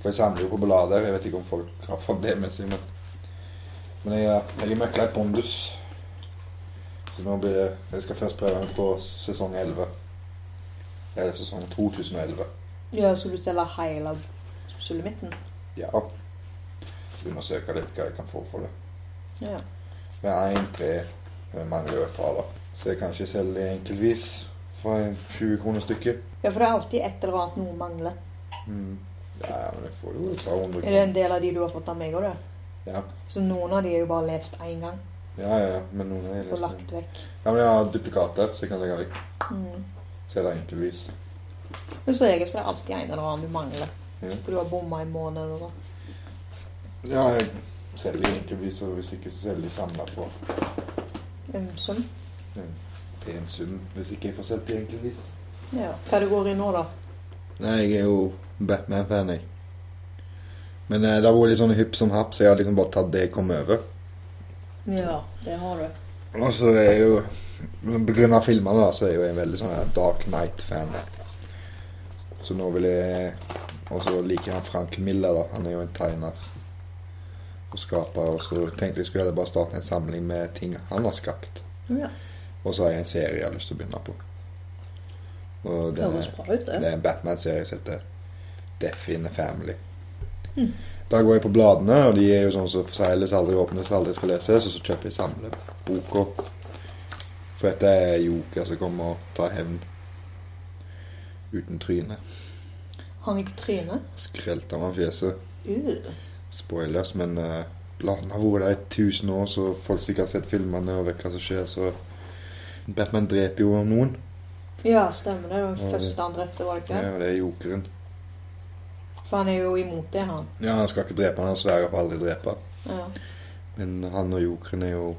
For jeg samler jo på blader. Jeg vet ikke om folk har fått det med seg, men Men jeg, eh, jeg møkla i pondus. Så nå blir det Jeg skal først prøve den på sesong 11. Eller sesong 2011.
Ja, skal du stelle hele sulamitten?
Ja. Undersøke litt hva jeg kan få for det.
Ja.
Det er en tre eh, mangler jo et par, da. Så jeg kan ikke selge det enkeltvis for en 20 kroner stykket.
ja, for det er alltid et eller annet noe mangler.
Mm. Ja, men jeg får jo et par hundre
Er det en del av de du har fått av meg òg, du?
Ja.
Så noen av de er jo bare lest én gang
Ja, ja, ja, men noen er
og
liksom...
lagt vekk.
Ja, men jeg har duplikater, så jeg kan legge vekk.
Mm.
Så jeg enkeltvis.
Men som regel så er det alltid en eller annen du mangler.
Ja.
For du har bomma i måned eller noe.
Ja, jeg selger enkeltvis, og hvis ikke så selger jeg samlet på
Ømsom.
en sum. Hvis ikke jeg får sett det enkeltvis.
Ja. Kategori nå, da?
Nei, jeg er jo Batman-fan, jeg. Men eh, det har vært litt sånn hypp som happ, så jeg har liksom bare tatt det jeg kom over.
Ja, det har du.
Og så er jeg jo På grunn av filmene, da, så er jeg jo en veldig sånn her Dark Night-fan. Så nå vil jeg Og så liker jeg han Frank Miller, da. Han er jo en tegner og skaper. Og så tenkte jeg skulle heller bare starte en samling med ting han har skapt.
Ja.
Og så har jeg en serie jeg har lyst til å begynne på. Og
Det
den
høres
er,
bra ut,
det
det.
er en Batman-serie som heter Death in the Family. Da går jeg på bladene, og de er jo sånn som forsegles, aldri åpnes, aldri skal leses, og så kjøper jeg samleboka. For dette er Joker som kommer og tar hevn. Uten tryne.
Har han ikke tryne?
Skrelt av meg fjeset.
Uh.
Spoilers, men eh, bladene har vært der i tusen år, så folk sikkert har sett filmene og vet hva som skjer, så Batman dreper jo noen.
Ja, stemmer det. Det var
Ja, det-
den første han drepte, var det ikke?
Ja, og det er jokeren.
For han er jo imot det, han.
Ja, han skal ikke drepe han, han sverger på aldri å drepe han.
Ja.
Men han og jokeren er jo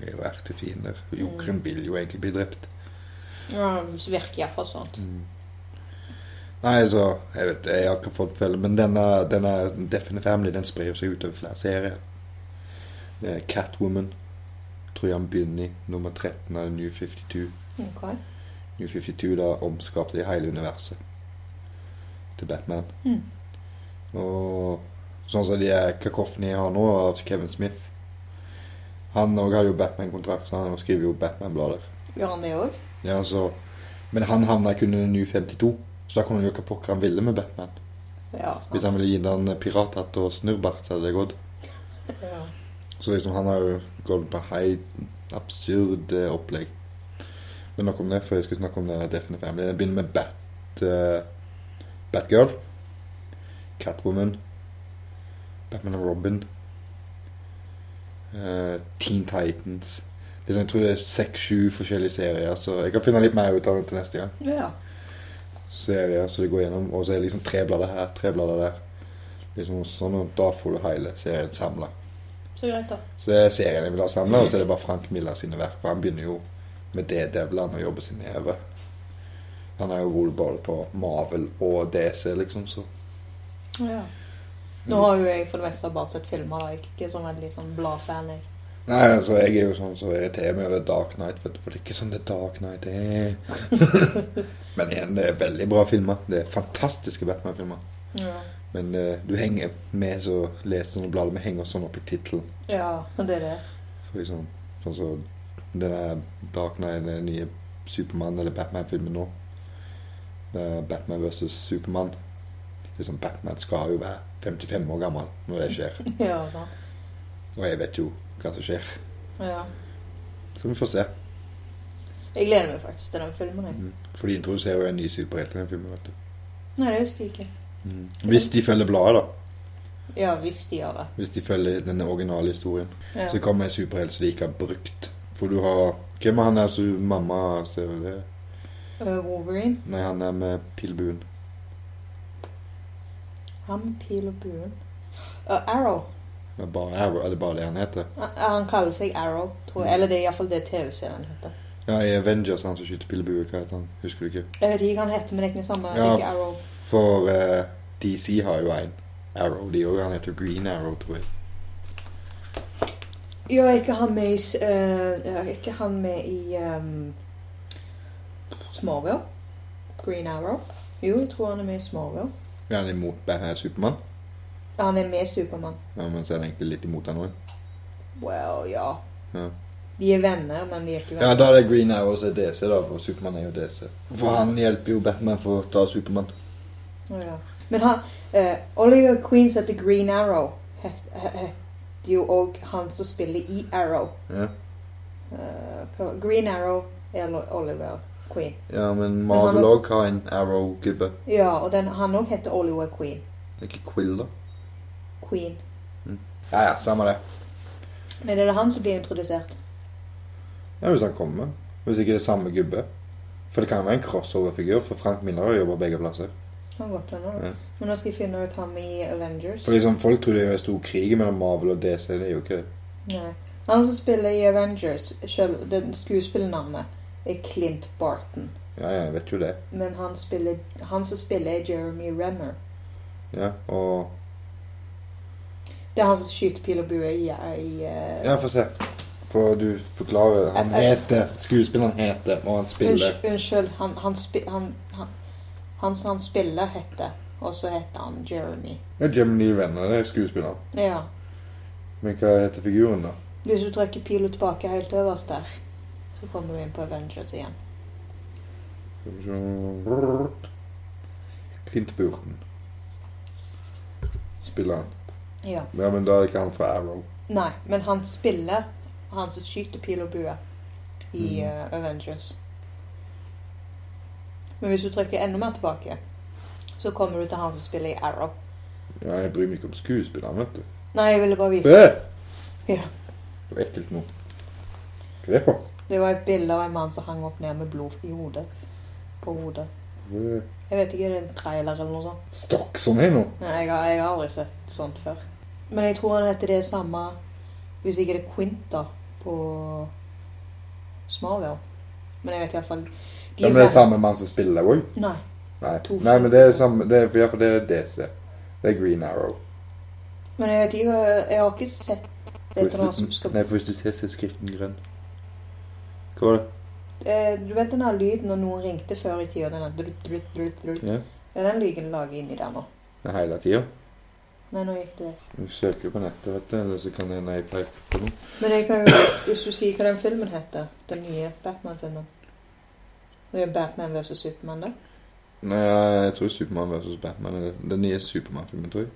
er jo ertefiender. Jokeren vil jo egentlig bli drept.
ja så virker iallfall sånn.
Nei, så Jeg vet jeg har ikke fått følge Men denne, denne Definite Family den sprer jo seg utover flere serier. Det er Catwoman. Tror jeg han begynner i nummer 13 av New 52.
Ok.
New 52 da omskapte de hele universet til Batman.
Mm.
Og sånn som de er kakoffene jeg har nå, av Kevin Smith Han òg har jo Batman-kontrakt, så han skriver jo Batman-blader.
Gjør han det òg?
Ja, så, men han havna kun under New 52, så da kunne han gjøre hva pokker han ville med Batman.
Ja.
Hvis han
Sant.
ville gi han pirathatt og snurrbart, så hadde det gått.
Ja.
Så liksom han har jo gått på hei, absurd eh, opplegg. Men nok om det, for jeg skal snakke om det Definite Family. Jeg begynner med Bat... eh, Batgirl. Catwoman. Batman og Robin. eh, Teen Titans. Liksom, jeg tror det er seks-sju forskjellige serier, så jeg kan finne litt mer ut av det til neste gang.
Ja.
serier som de går gjennom, og så er det liksom tre blader her, tre blader der. Liksom sånn, og Da får du hele serien samla.
Så greit, da.
Så det er serien jeg vil ha samla, og så er det bare Frank Miller sine verk. For han begynner jo med D-Devil, han, og jobber seg nedover. Han har jo vært både på Marvel og DC, liksom, så Mm.
Ja. Nå har jo jeg for det meste bare sett filmer. da. Jeg er ikke sånn veldig sånn bladfan. jeg.
Nei, altså, jeg er jo sånn som irriterer meg over Dark Knight, vet du, for det er ikke sånn det Dark Knight er. Men igjen, det er veldig bra filmer. Det er fantastiske Batman-filmer.
Ja.
Men eh, du henger med så leser sånne blader. Vi henger oss sånn opp i tittelen.
ja, men det er det.
For Liksom, sånn som den der Dark Knight, den nye Supermann eller Batman-filmen nå. Det er Batman versus Supermann. Liksom, Batman skal jo være 55 år gammel når det skjer.
Ja, sant.
Og jeg vet jo hva som skjer.
Ja.
Så vi får se.
Jeg gleder meg faktisk til den filmen. jeg.
For de introduserer jo en ny superhelt i den filmen. vet du.
Nei, det husker jeg ikke.
Hvis de følger bladet, da.
Ja, hvis de gjør det.
Hvis de følger den originale historien.
Ja.
Så kommer en superhelt som de ikke har brukt. For du har Hvem er han der som mamma ser det?
Øh, Wolverine,
Nei, han er med pilbuen.
han piler buen. Øh, Arrow.
Er det bare Arrow? Er det bare det han heter?
Han- Han kaller seg Arrow, tror
Mm.
jeg. Eller det er iallfall det TV-serien heter.
Ja, i Avengers han som skyter pilbue, hva heter han? Husker du ikke?
Jeg vet ikke hva han heter, men det er ikke det samme. Det er
Ja.
ikke Arrow.
For eh, DC har jo en Arrow, de òg. Han heter Green Arrow, tror jeg.
Ja, er ikke han med i s- øh, ja, er ikke han med i ehm, Smallville? Green Arrow? Jo, jeg tror han er med i Smallville.
Er han imot Batman Supermann?
Ja, Han er med i Supermann.
Ja, men så er han egentlig litt imot han òg.
Well, ja.
Ja.
De er venner, men de er ikke
Ja,
venner.
da er det Green Arrow som er DC, da, for Supermann er jo DC. For han hjelper jo Batman for å ta Supermann.
Å, ja. Oh, Men han eh, Oliver Queens heter Green Arrow. Het- het- Heter jo òg han som spiller i Arrow.
Ja.
Eh, hva- Green Arrow er Lo- Oliver Queen.
Ja, men
Men han
Marvel
er-
òg har en Arrow-gubbe.
Ja, og den, han òg heter Oliver Queen.
Det er ikke Quill, da.
Queen.
Ja, ja, samme det.
Men er det han som blir introdusert?
Ja, hvis han kommer. Hvis ikke det er samme gubbe. For det kan være en crossover-figur, for Frank Miller har jobba begge plasser.
Han går til nå.
Ja.
Men nå skal jeg finne ut ham i Avengers.
For liksom, Folk tror det er en stor krig mellom Marvel og DC. Det er jo ikke det.
Nei. Han som spiller i Avengers, selv, den skuespillernavnet er Clint Barton.
Ja, ja, jeg vet jo det.
Men han, spiller, han som spiller, er Jeremy Renner.
Ja, og
Det er han som skyter pil og bue i, i eh,
Ja, få se. For du forklarer Han heter Skuespilleren heter, og han spiller.
Unnskyld, unnskyld han, han, spi, han, han, han som han spiller heter, og så heter han Jeremy.
Ja, Gemini Renner det er skuespilleren.
Ja.
Men hva heter figuren, da?
Hvis du trekker pila tilbake helt øverst der, så kommer du inn på Avengers igjen.
Skal vi se. Clint Burton. Spiller han.
Ja.
Ja, men da er det ikke han fra Arrow.
Nei, men han spiller han som skyter pil og bue i eh, Avengers. Men hvis du trekker enda mer tilbake, så kommer du til han som spiller i Arrow.
Ja, jeg bryr meg ikke om skuespilleren, vet du.
Nei, jeg ville bare vise
Øh!
Ja.
Det var ekkelt nå. Hva er det for?
Det var et bilde av en mann som hang opp ned med blod i hodet. På hodet.
Hvorfor er det
Jeg vet ikke, er det en trailer eller noe sånt?
Stokk som er nå.
Nei, jeg har, jeg har aldri sett sånt før. Men jeg tror han heter det samme Hvis ikke det er Quint, da, på Smallville. Men jeg vet iallfall
Ja, men det er samme mann som spiller deg òg?
Nei.
Nei.
To
Nei, men det er samme det er, for- ja, for det er DC. Det er Green Arrow.
Men jeg vet ikke Jeg har ikke sett det til noen som skal
Nei, for hvis du ser, så er skriften grønn. Hva var det?
eh, Du vet den der lyden når noen ringte før i tida? Den der drutt, drutt, drutt, drutt.
Ja.
Det er den lyden lager inni der nå.
Det er hele tida.
Nei, nå gikk det vekk.
Du søker på nettet, vet du, eller så kan det hende jeg peker på noe.
Men jeg kan jo Hvis du sier hva den filmen heter, den nye Batman-filmen Det er Batman versus Supermann, da.
Nei, ja, jeg tror Supermann versus Batman er det- den nye Supermann-filmen, tror jeg.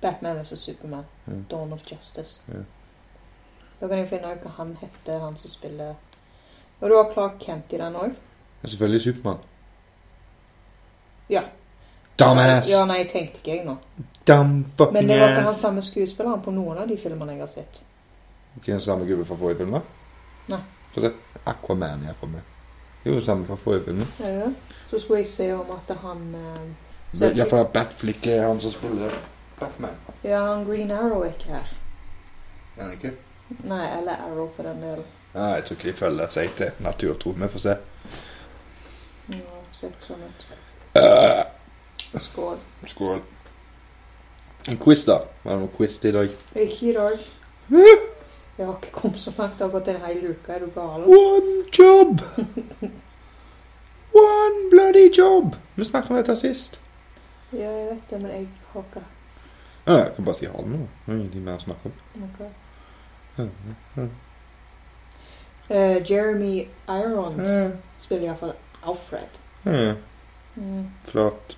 Batman versus Superman.
Ja.
Dawn of Justice.
Ja.
Da kan jeg finne ut hva han heter, han som spiller Og du har Clark Kent i den òg.
Ja, selvfølgelig Supermann. Dumbass!
Ja, nei, tenkte ikke jeg nå.
Dumb
Men
fucking
det var ikke han
ass!
samme skuespilleren på noen av de filmene jeg har sett.
Ikke den samme gubben fra forrige film, da?
Nei.
Få se. Aquaman jeg får med. Jo, den samme fra forrige film.
Er det det? Så skulle jeg se om at han eh, Så-
Ja, for det er Batflick er han som spiller Batman.
Ja, han Green Arrow er ikke her.
Er han ikke?
Nei, eller Arrow for den del.
Ja, jeg tror ikke de følger seg til naturtro. Vi får se.
Ja, ser ikke sånn ut.
Øh,
Skål.
Skål. En quiz, da. Var det noen quiz i dag?
Ikke i dag. Jeg har ikke kommet så langt. Det har gått en hel uke. Er du gal?
One job! One bloody job! Vi snakket om dette sist.
Ja, jeg vet det, men jeg har ikke
Ja, jeg kan bare si ha det nå. Det er ingenting mer å snakke om.
noe.
Ja,
Eh, Jeremy Irons
Ja.
spiller iallfall Alfred.
Ja,
Mm.
Flott.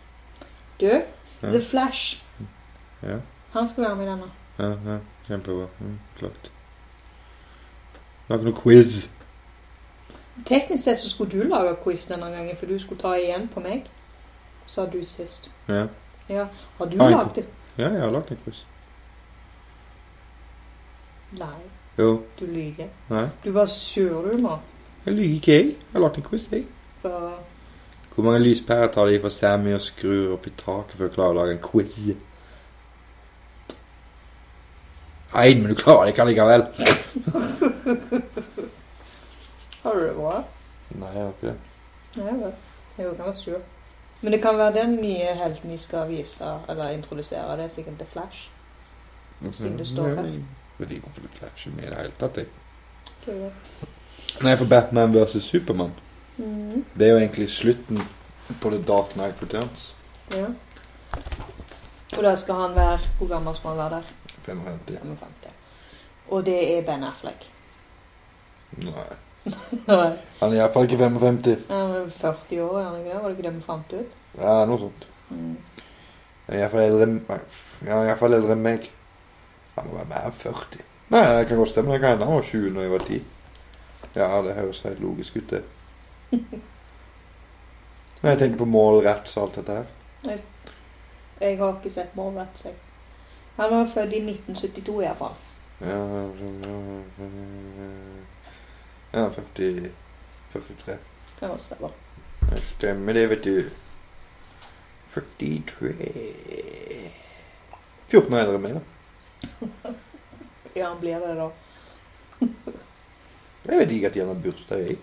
Du,
Ja.
The Flash.
Ja.
Han skal være med i denne.
Ja, ja, kjempebra. Mm, flott. Det var ikke noe quiz.
Teknisk sett så skulle du lage quiz denne gangen, for du skulle ta igjen på meg. Sa du sist.
Ja,
Har du
Ah, jeg
lagd det?
ja jeg har lagt en quiz.
Nei,
Jo.
du lyver.
Nei.
Du var sur du nå.
Jeg lyver ikke, jeg. Jeg har lagt en quiz, jeg.
For
Hvor mange lyspærer tar det i for Sammy og skrur opp i taket for å klare å lage en quiz? Nei, men du klarer det ikke allikevel.
har du det bra?
Nei, jeg har ikke det.
Nei vel. Jeg kan være sur. Men det kan være den nye helten de skal vise eller introdusere. Det er sikkert The Flash. Siden
Mm.
det står her.
Jeg vet ikke hvorfor det flasher med i det hele tatt. Jeg.
Okay.
Nei, for Batman versus Supermann.
Mm.
Det er jo egentlig slutten på The Dark Knight Returns.
Ja. Og da skal han være Hvor gammel skal han være der?
55.
55. Og det er Ben Affleck.
Nei.
Nei,
Han er iallfall ikke 55.
Han er 40 år, er han ikke det? Var det ikke det vi fant ut?
Ja, noe sånt.
Mm.
Han er iallfall eldre enn nei, Ja, han er i hvert fall eldre enn meg. Han må være mer enn 40. Nei, det kan godt stemme. Det kan hende han var 20 når jeg var 10. Ja, det høres helt logisk ut, det. Nei, jeg tenker på mål, rats og alt dette her.
Jeg har ikke sett Morrat, jeg. Han var født i 1972 iallfall.
Ja, sånn, ja, ja, ja, 40 43.
Kan også stemme.
Det stemmer det, vet du. 43 14 år eldre enn meg, da.
Ja, han blir det, da.
Jeg vet ikke at han har bursdag, jeg.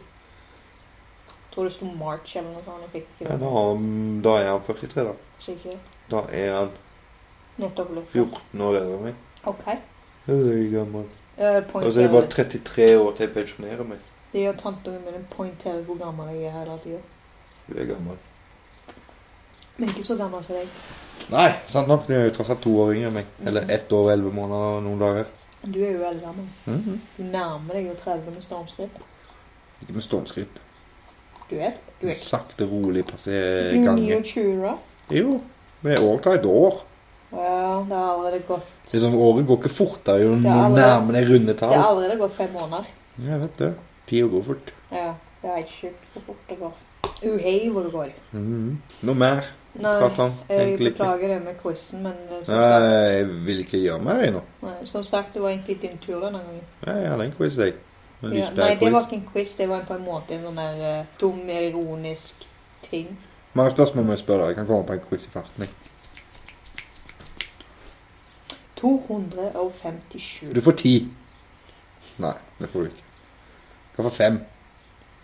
Tror det sto March eller noe sånt. Jeg fikk ikke
Ja,
det.
da, har han- um, da er han 43, da.
Sikkert.
Da er han
Nettopp lukket.
14 år eldre enn meg.
OK.
Øy, gammel.
Eh,
Og så er det bare
poengterer
33 år til jeg pensjonerer meg.
Det gjør tanten min en poengterer hvor gammel jeg er hele tida.
Du er gammel.
Men ikke så gammel som deg.
Nei, sant nok. Du er jo tross alt to år yngre enn meg. Eller ett år og elleve måneder og noen dager.
Du er jo veldig gammel.
Mhm.
Du nærmer deg jo 30 med stormskritt.
Ikke med stormskritt.
Du vet. Du er
Sakte, rolig passere
Du er
gangen.
29, da.
Jo, men året tar et år.
Ja, det har allerede gått
Liksom, året går ikke fortere jo
Det er allerede-
nærmere deg runde
Det har
tall.
allerede gått fem måneder.
Jeg vet det. Tida går fort.
Ja, det er ikke sjukt hvor fort det går. Uhei hvor det går.
Mhm. Noe mer? Prater
Nei,
han
jeg
egentlig ikke?
beklager det med quizen, men eh, som sagt,
Nei, jeg vil ikke gjøre mer jeg nå.
nei, som sagt, det var egentlig din tur denne gangen.
Nei, Jeg hadde en quiz, jeg. En
Ja, nei, det
lysbærquiz.
var ikke en quiz, det var på en måte en sånn der eh, dum, ironisk ting.
Mange spørsmål må jeg spørre deg. Jeg kan komme på en quiz i farten. jeg.
257.
Du får ti. Nei, det får du ikke. Du kan få fem.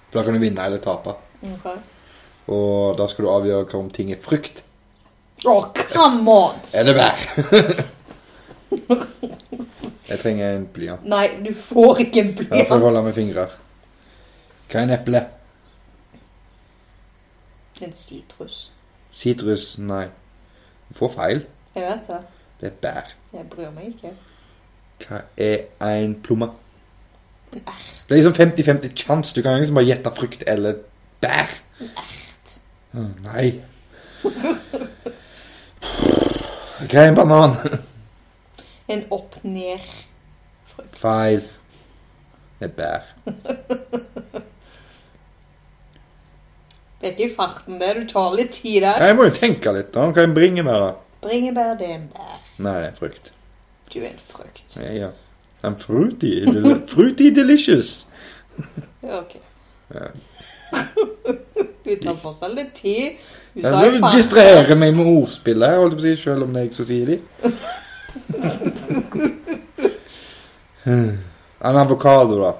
For da kan du vinne eller tape.
Ok.
Og da skal du avgjøre hva om ting er frukt
Å, come on!
eller bær. jeg trenger en blyant.
Nei, du får ikke en
Ja, får jeg
blyant.
holde med fingrer. Hva er en eple?
En sitrus.
Sitrus? Nei. Du får feil.
Jeg vet det.
Det er bær.
Jeg bryr meg ikke.
Hva er en plomme? Det er liksom 50-50 chans. Du kan liksom bare gjette frukt eller bær. Å, Nei. Hva er en banan?
En opp-ned.
Feil. Det er bær.
Det er ikke i farten, det. Du tar litt tid der.
Jeg må jo tenke litt. da. Hva er en bringebær? da?
Bringebær, det er en bær.
Nei, det er frukt.
Du er en frukt.
Ja, ja. I'm fruity, del- fruity delicious.
Ok. Du tar fortsatt litt tid. Du
Jeg
sa
vil
i farten.
distrahere meg med ordspill her, holdt jeg på å si, selv om det er jeg som sier de. En avokado, da.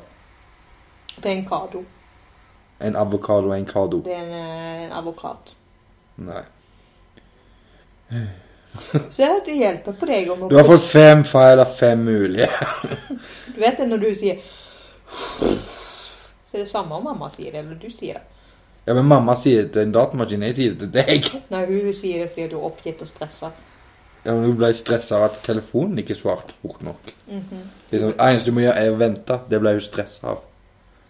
Det er en kado.
En avokado og en kado.
Det er en, eh, en avokat.
Nei.
Se, det hjelper på deg om å
Du har fått fem feil av fem mulige.
Du vet det når du sier Så er det samme om mamma sier det, eller du sier det.
Ja, men mamma sier det til en datamaskin, jeg sier det til deg.
Nei, hun sier det fordi du er oppgitt og stressa.
Ja, men Hun ble stressa av at telefonen ikke svarte fort nok.
Mhm.
Liksom, Det eneste du må gjøre, er å vente. Det ble hun stressa av.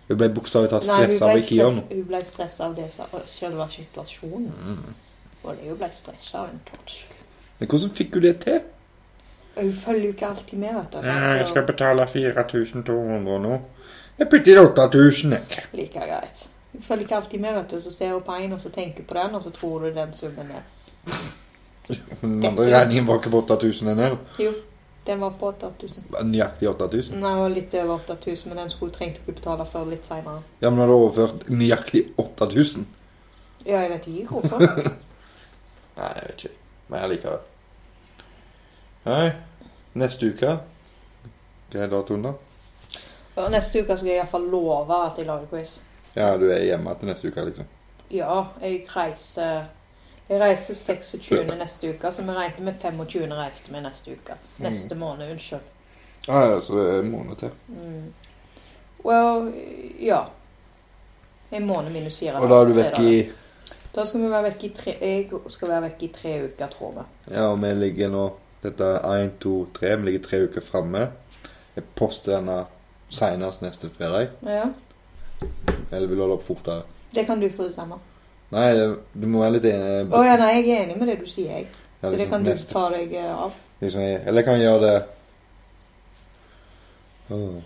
Hun ble bokstavelig talt
Nei, hun
stressa av
ble
å ikke gjøre
stress-
noe.
hun ble stressa av det sa- og selve situasjonen. Og det hun ble stressa av en torsk.
Mm. Men hvordan fikk hun det til?
Hun følger jo ikke alltid med, vet du.
Nei, Eh, jeg
Sant?
skal betale 4200 nå. Jeg putter inn 8000, jeg.
Så like greit. Hun følger ikke alltid med, vet du. Så ser hun på en, og så tenker hun på den, og så tror du den summen er
Men Den andre regningen var ikke på 8000 den heller.
Jo, den var på 8000.
Bare Nøyaktig 8000.
Nei, hun var litt over 8000, men den skulle hun trengte ikke betale før litt seinere.
Ja, men har du overført nøyaktig 8000?
Ja, jeg vet ikke hvorfor.
Nei, jeg vet ikke. Men allikevel. Nei, neste uke Hva er datoen, da?
Og Neste uke skal jeg iallfall love at jeg lager quiz.
Ja, du er hjemme til neste uke, liksom.
Ja, jeg reiser Jeg reiser 26. neste uke, så vi regnet med 25. reiste vi neste uke.
Mm.
Neste måned, unnskyld.
Ja, ja, så det er en måned til.
Mm. Well, ja. En måned minus fire.
Og da er du
tre
vekk i
dager. Da skal vi være vekk i tre Jeg skal være vekk i tre uker, tror vi.
Ja, og vi ligger nå Dette er 1, 2, 3. Vi ligger tre uker framme. Jeg poster denne senest neste fredag.
Ja.
Eller vil du holde opp fortere?
Det kan du få bestemme.
Nei, det, du må være litt enig.
Å ja, nei, jeg er enig med det du sier, jeg.
Ja,
Så det
liksom
kan du
neste-
ta deg eh, av.
Liksom, jeg, eller jeg kan gjøre det Åh,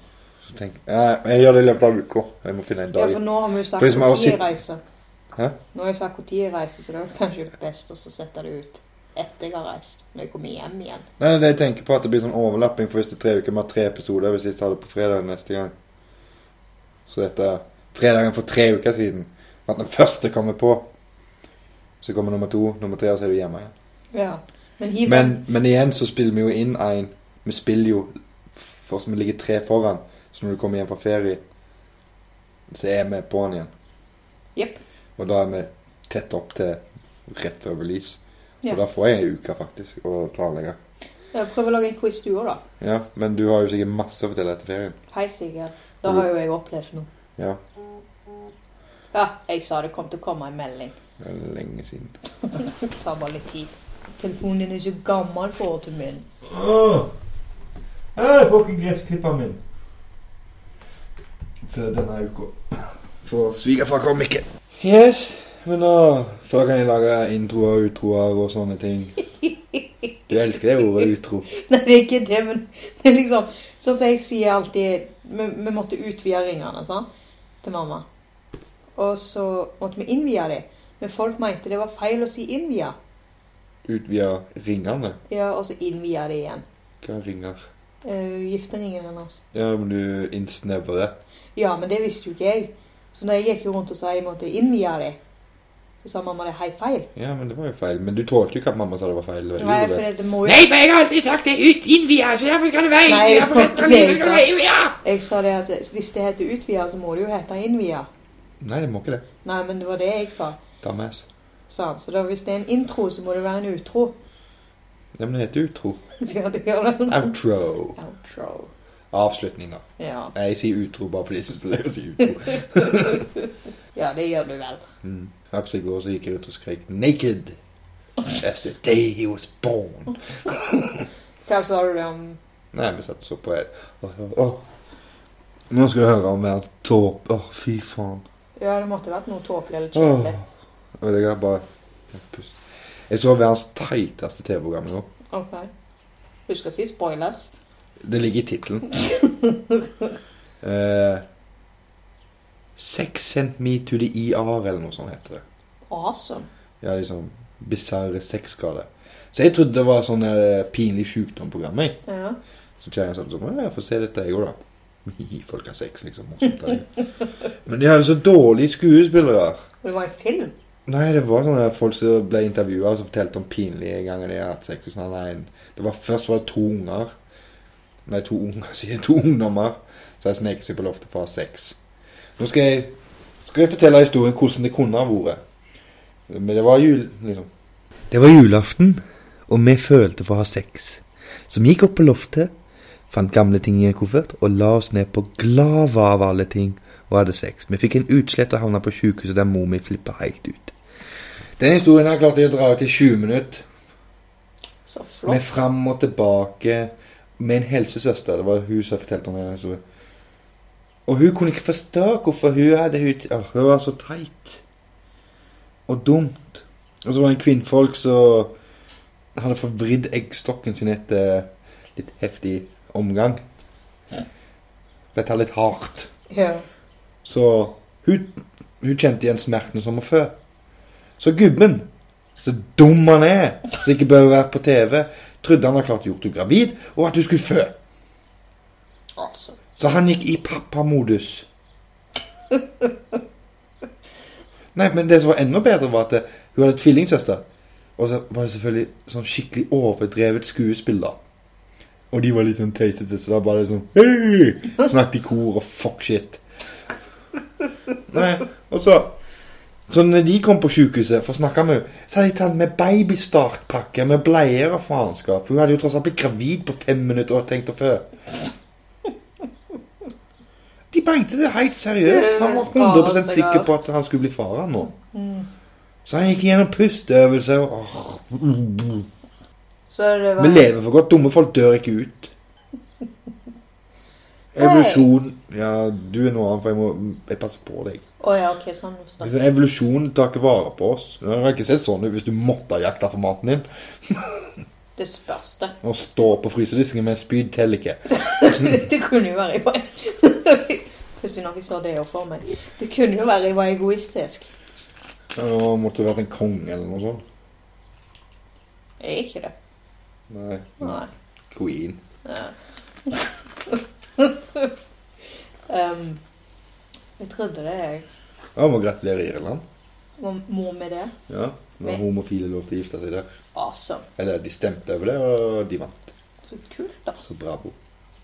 Så tenk Nei, jeg gjør det i løpet av uka. Jeg må finne en
Ja,
dag.
for nå har vi jo sagt
For liksom, jeg har
når jeg
sitt-
reiser.
Hæ?
Nå har jeg sagt når jeg reiser, så det er kanskje best å så sette det ut etter jeg har reist. Når jeg kommer hjem igjen.
Nei, det jeg tenker på er at det blir sånn overlapping for hvis det er tre uker med tre episoder hvis jeg tar det på fredag neste gang. Så dette er fredagen for tre uker siden. At den første kommer på. Så kommer nummer to, nummer tre, og så er du hjemme igjen.
Ja. Men hiv
Men, men igjen så spiller vi jo inn en Vi spiller jo for som vi ligger tre foran. Så når du kommer hjem fra ferie, så er vi på den igjen.
Jepp.
Og da er vi tett opp til rett før release.
Ja.
Og da får jeg ei uke, faktisk, å planlegge.
Ja, Prøv å lage en quiz du òg, da.
Ja, men du har jo sikkert masse å fortelle etter ferien.
Hei,
Mm.
Sigurd. Da har jo jeg opplevd noe.
Ja,
Ja, jeg sa det kom til å komme en melding.
det er lenge siden.
Det tar bare litt tid. Telefonen din er så gammel forhold til min.
Jeg får ikke gressklipperen min. Før denne uka. For svigerfar kom ikke.
Yes, men da Før kan jeg lage introer og utroer og sånne ting. Du elsker det ordet utro.
Nei, det er ikke det, men det er liksom Sånn som jeg sier alltid Vi, vi måtte utvide ringene sant? til mamma. Og så måtte vi innvie dem. Men folk mente det var feil å si 'innvie'.
Utvide ringene.
Ja, og så innvie det igjen.
Hva er ringer?
Uh, Gifteringen hennes.
Ja, men du innsnevrer.
Ja, men det visste jo ikke jeg. Så når jeg gikk jo rundt og sa jeg måtte innvie dem, så sa mamma det er helt feil.
Ja, men det var jo feil. Men du tålte jo ikke at mamma sa det var feil. eller
Nei,
gjorde
for
det.
det, det må jo
Nei, men jeg har alltid sagt det ut innvia, så derfor skal det være
Nei,
innvia for resten av livet. skal det være innvia!
Jeg sa det at hvis det heter utvide, så må det jo hete innvie.
Nei, det må ikke det.
Nei, men det var det jeg sa.
Dumbass.
sa han. Så da, hvis det er en intro, så må det være en utro.
Ja, men det heter utro.
Ja, det gjør det.
Outro.
Outro.
Avslutning, da.
Ja.
Nei, Jeg sier utro bare fordi jeg syns det er løy å si utro.
ja, det gjør du vel.
Mm. Aksel i går så gikk jeg rundt og skrek 'naked'. As the day he was born.
Hva sa du om
Nei, vi satt og så på et Åh, åh. Nå skal du høre om hver tåpe Åh, fy faen.
Ja, det måtte vært noe tåpelig eller
Åh.
kjedelig.
Og det er bare Jeg pust. Jeg så verdens teiteste TV-program i går.
Ok. Husk å si spoilers.
Det ligger i tittelen. Eh, Sex sent me to the ER, E eller noe sånt heter det.
Awesome.
Ja, liksom bisarre sexskader. Så jeg trodde det var sånn eh, pinlig sjukdom-program. jeg.
Ja.
Så kjæringen sa sånn «Ja, Jeg får se dette, jeg òg, da. Hihi, Folk har sex, liksom. morsomt, da. Men de hadde så dårlige skuespillere.
Og det var en film.
Nei, det var sånne folk som ble intervjua og som fortalte om pinlige ganger de har hatt sex. og Sånn, nei, det var, først var det to unger. Nei, to unger, sier jeg. To ungdommer som har sneket seg på loftet for å ha sex. Nå skal jeg, skal jeg fortelle historien hvordan det kunne ha vært. Men det var jul, liksom.
Det var julaften, og vi følte for å ha sex. Så vi gikk opp på loftet, fant gamle ting i en koffert, og la oss ned på glava av alle ting og hadde sex. Vi fikk en utslett og havna på sjukehuset der mor mi flippa helt ut.
Den historien her klarte jeg å dra ut i 20 minutter.
Så
Med
flott.
fram og tilbake med en helsesøster. Det var hun som fortalte om den historien. Og hun kunne ikke forstå hvorfor hun hadde hun, Åh, hun var så teit. Og dumt. Og så var det en kvinnfolk som hadde forvridd eggstokken sin etter litt heftig omgang. Dette er litt hardt.
Ja.
Så hun, hun kjente igjen smerten som var før. Så gubben, så dum han er, som ikke bør være på TV, trodde han hadde klart å gjort henne gravid, og at hun skulle fø.
Awesome.
Så han gikk i pappamodus. Nei, men det som var enda bedre, var at eh, hun hadde tvillingsøster. Og så var det selvfølgelig sånn skikkelig overdrevet skuespill, da. Og de var litt sånn teitete, så da bare liksom «Hei!» Snakket i kor og fuck shit. Nei, og så Så når de kom på sjukehuset for å snakke med henne, så hadde de tatt med babystartpakke med bleier og faenskap. For hun hadde jo tross alt blitt gravid på fem minutter og tenkt å fø. De mente det helt seriøst. Han var 100 sikker på at han skulle bli far han nå.
Mm.
Så han gikk gjennom pusteøvelser og åh,
Så det var
Vi lever for godt. Dumme folk dør ikke ut. Evolusjon Ja, du er noe annet, for jeg må Jeg passer på deg.
Å ja, OK, sånn forstår jeg.
Evolusjon tar ikke vare på oss. Det har ikke sett sånn ut hvis du måtte ha jakta for maten din.
Det spørste.
Og stå på frysedisken med en spyd teller ikke.
Det kunne jo være egoistisk. Pussig nok jeg så det jo for meg. Det kunne jo være jeg var egoistisk.
Nå måtte du vært en konge eller noe sånt.
Jeg er ikke det.
Nei.
Nei.
Queen.
Ehm, jeg trodde det, jeg.
Ja, må gratulere Irland.
Var mor med det?
Ja. Når homofile lov til å gifte seg der.
Awesome.
Eller de stemte over det, og de vant.
Så kult, da.
Så bravo.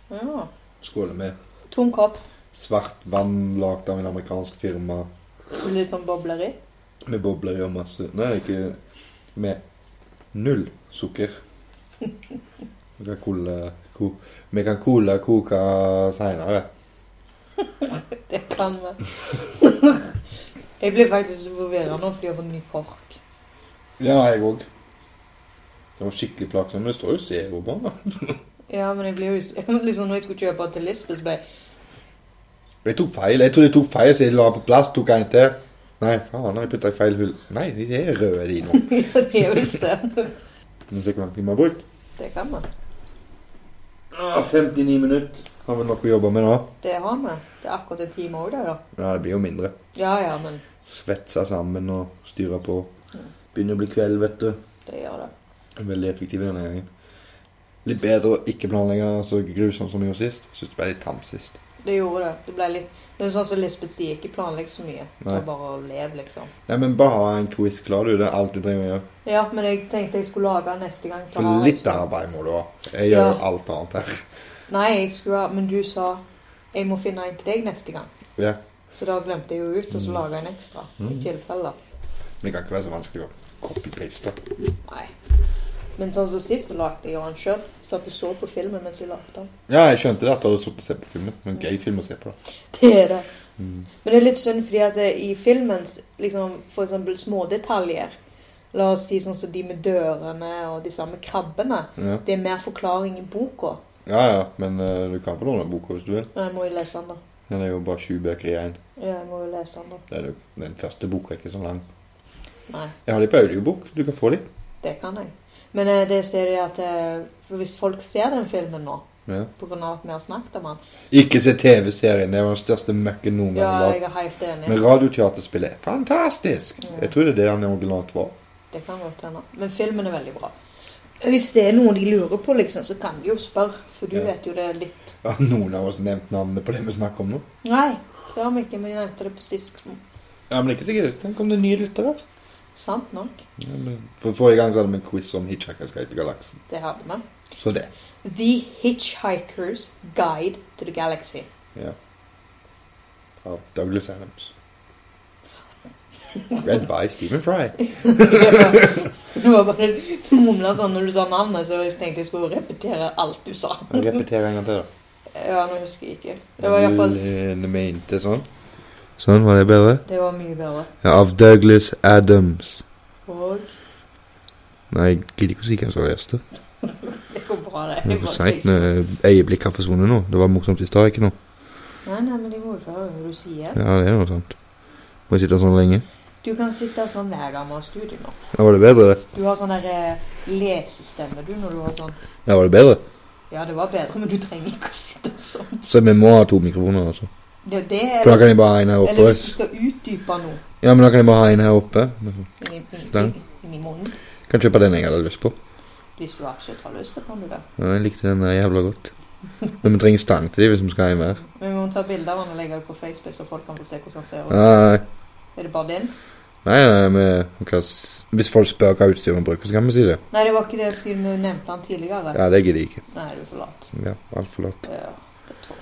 Ja.
Skåler med
Tom kopp.
svart vann lagd av en amerikansk firma
Litt sånn bobler i.
med bobler i og masse Nei, ikke med null sukker. Vi kan cola, ko, vi kan cola koke seinere.
Det kan vi. Jeg blir faktisk så forvirra nå fordi jeg har fått ny kork.
Ja, jeg òg. Det var skikkelig plagsomt. Men det står jo Zero på den. da.
Ja, men jeg blir jo us- liksom Når jeg skulle kjøpe til Lisbeth, så ble jeg
Jeg tok feil. Jeg trodde jeg tok feil, så jeg la på plass. Tok en til. Nei, faen, jeg putta i feil hull. Nei, de er røde, de nå.
Ja, det er jo visst det.
Men se hvor lang tid vi har brukt.
Det kan vi.
Ah, 59 minutter. Har vi nok å jobbe med nå?
Det har vi. Det er akkurat en time òg, det, da.
Ja, det blir jo mindre.
Ja ja, men
svetse sammen og styre på. Begynner å bli kveld, vet du.
det gjør det.
En Veldig effektiv denne gangen. Litt bedre å ikke planlegge så grusomt som vi gjorde sist. Syns det ble litt tamt sist.
Det gjorde det. Det ble litt Det er sånn som Lisbeth sier, ikke planlegg så mye.
Nei.
Ta bare og lev, liksom.
Nei, men bare ha en quiz klar, du. Det er alt du trenger å gjøre.
Ja, men jeg tenkte jeg skulle lage den neste gang.
For litt arbeid må du ha. Jeg gjør
Ja.
jo alt annet her.
Nei, jeg skulle ha Men du sa jeg må finne en til deg neste gang.
Ja. Mm.
Så da glemte jeg jo ut, og så laga jeg en ekstra. I tilfelle.
Men det kan ikke være så vanskelig å copy-paste.
Nei. Men sånn som sist, så lagde jeg jo den sjøl. Satt og så på filmen mens jeg lagde den.
Ja, jeg skjønte det at du hadde sittet og sett på filmen. Men gøy film å se på, da.
Det er det.
Mm.
Men det er litt synd fordi at det, i filmens liksom, for eksempel smådetaljer La oss si sånn som de med dørene og de samme krabbene.
Ja,
Det er mer forklaring i boka.
ja. ja. Men eh, du kan få låne boka hvis du vil.
Nei, jeg må jo lese den, da.
Den er jo bare sju bøker i én.
Ja, jeg må jo lese den, da.
Det er jo- Den første boka er ikke så lang.
Nei,
Jeg har de på audiobok. Du kan få de.
det kan jeg. Men eh, det ser jeg at eh, for hvis folk ser den filmen nå,
Ja.
På grunn av at vi har snakket om han.
Ikke se TV-serien. Det var den største møkken noen
Ja,
gang. lagd.
jeg er helt enig.
Men radioteaterspillet er fantastisk! Jeg tror det er det han originalt var.
Det kan godt hende. Men filmen er veldig bra. Hvis det er noe de lurer på, liksom, så kan de jo spørre. For du
Ja.
vet jo det er litt
Har noen av oss nevnt navnet på det vi snakker om nå?
Nei, det har vi ikke, men de nevnte det på sist.
Ja, men ikke sikkert. Tenk om det er nye lyttere.
Sant nok.
Ja, men- For Forrige gang så hadde vi en quiz om Hitchhiker's Guide til Galaksen.
Det hadde vi.
Så det.
The Hitchhiker's Guide to the Galaxy.
Av Douglas Adams. Red by Stephen Fry.
Det var bare Du mumla sånn når du sa navnet, så jeg tenkte jeg skulle repetere alt du sa.
Jeg repeterer en gang til. da.
Ja, nå husker jeg ikke. Det var iallfall
Lene mente sånn.
Sånn var det bedre.
Det var mye bedre.
Ja, av Douglas Adams.
Og
Nei, jeg gidder ikke å si hvem som var gjest. Det
det går bra, det. sånn,
er for seint når øyeblikk har forsvunnet nå. Det var morsomt i stad, ikke nå.
Nei, nei, men de må jo få høre hva du sier.
Ja, det er noe sant. Må jeg sitte sånn lenge?
Du kan sitte sånn hver gang vi har studio nå.
Ja, var det bedre, det?
Du har sånn der eh, lesestemme, du, når du har sånn
Ja, var det bedre?
Ja, det var bedre, men du trenger ikke å sitte sånn.
Så vi må ha to mikrofoner, altså.
Det er det,
For da kan
eller,
jeg bare ha en her
eller
oppe.
hvis du skal utdype noe
Ja, men da kan jeg bare ha en her oppe.
inni, inni,
Den.
inni munnen
Kan kjøpe den jeg hadde lyst på.
Hvis du absolutt har lyst, så kan du det.
Ja, jeg likte den der jævla godt. Men vi trenger stang til de hvis vi skal ha en hver.
Men vi må ta bilde av han og legge ut på Facebook, så folk kan få se hvordan han ser ut.
Nei,
Er det bare din?
nei, nei, vi- vi kan s- hvis folk spør hva utstyr vi bruker, så kan vi si det.
Nei, det var ikke det siden du nevnte han tidligere.
Ja, det gidder jeg ikke.
Nei, du er for lat.
Ja, altfor lat.
Ja, det tror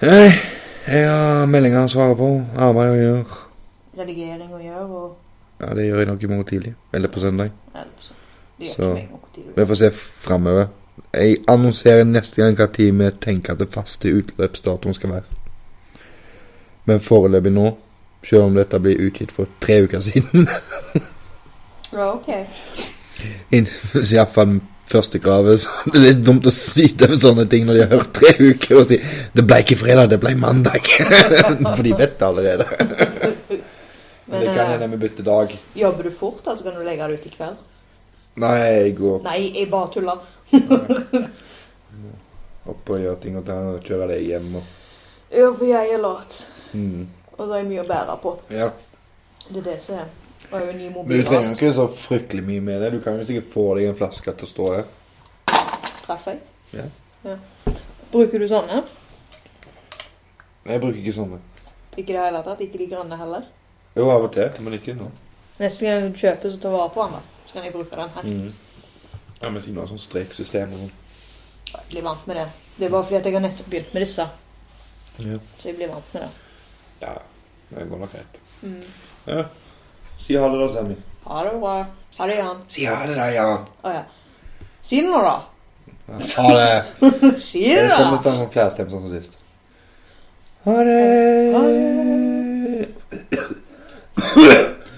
jeg.
Hei, jeg har meldinger å svare på. Arbeid å gjøre.
Redigering å gjøre og
Ja, det gjør jeg nok i morgen tidlig. Eller på søndag.
Nei, det er sånn. Det gjør
Så-
ikke meg noe tid.
Vi får se framover. Jeg annonserer neste gang hva tid vi tenker at det faste utløpsdatoen skal være. Men foreløpig nå, selv om dette blir utgitt for tre uker siden,
Ja, ok.
så i hvert fall første kravet, så det er litt dumt å syte med sånne ting når de har hørt tre uker og si 'Det ble ikke fredag, det ble mandag'. For de vet det allerede.
Men eh,
vi bytter dag.
jobber du fort, da, så kan du legge det ut i kveld?
Nei, jeg går
Nei, jeg bare tuller.
eh,
opp og gjør ting og tar og kjører det hjem og
Ja, for jeg er lat.
hmm.
mm.
Og det er mye å bære på.
Ja.
Det er det som er. Jeg har jo en ny
Men du
mobil.
trenger ikke så fryktelig mye med det. Du kan jo sikkert få deg en flaske til å stå her.
Traff jeg?
Ja.
Ja. Bruker du sånne?
Jeg bruker ikke sånne.
Ikke det hele tatt? Ikke de grønne heller?
Jo, av og til, men ikke nå.
Neste gang du kjøper, så ta vare på den, da. Så kan jeg bruke den her.
Mm. Ja, men siden du har sånn streksystem og sånn.
Jeg blir vant med det. Det er bare fordi at jeg har nettopp begynt med disse.
Ja.
Så jeg blir vant med det.
Ja, det går nok greit.
Mm.
Ja. Si ha det da, Sammy.
Ha det bra. Ha det, Jan.
Si ha det da, Jan.
Å ja. Si det nå, da.
Ha det.
Si
Jeg
det,
skal vi
da.
ta en sånn flashtime sånn som sist.
Ha det.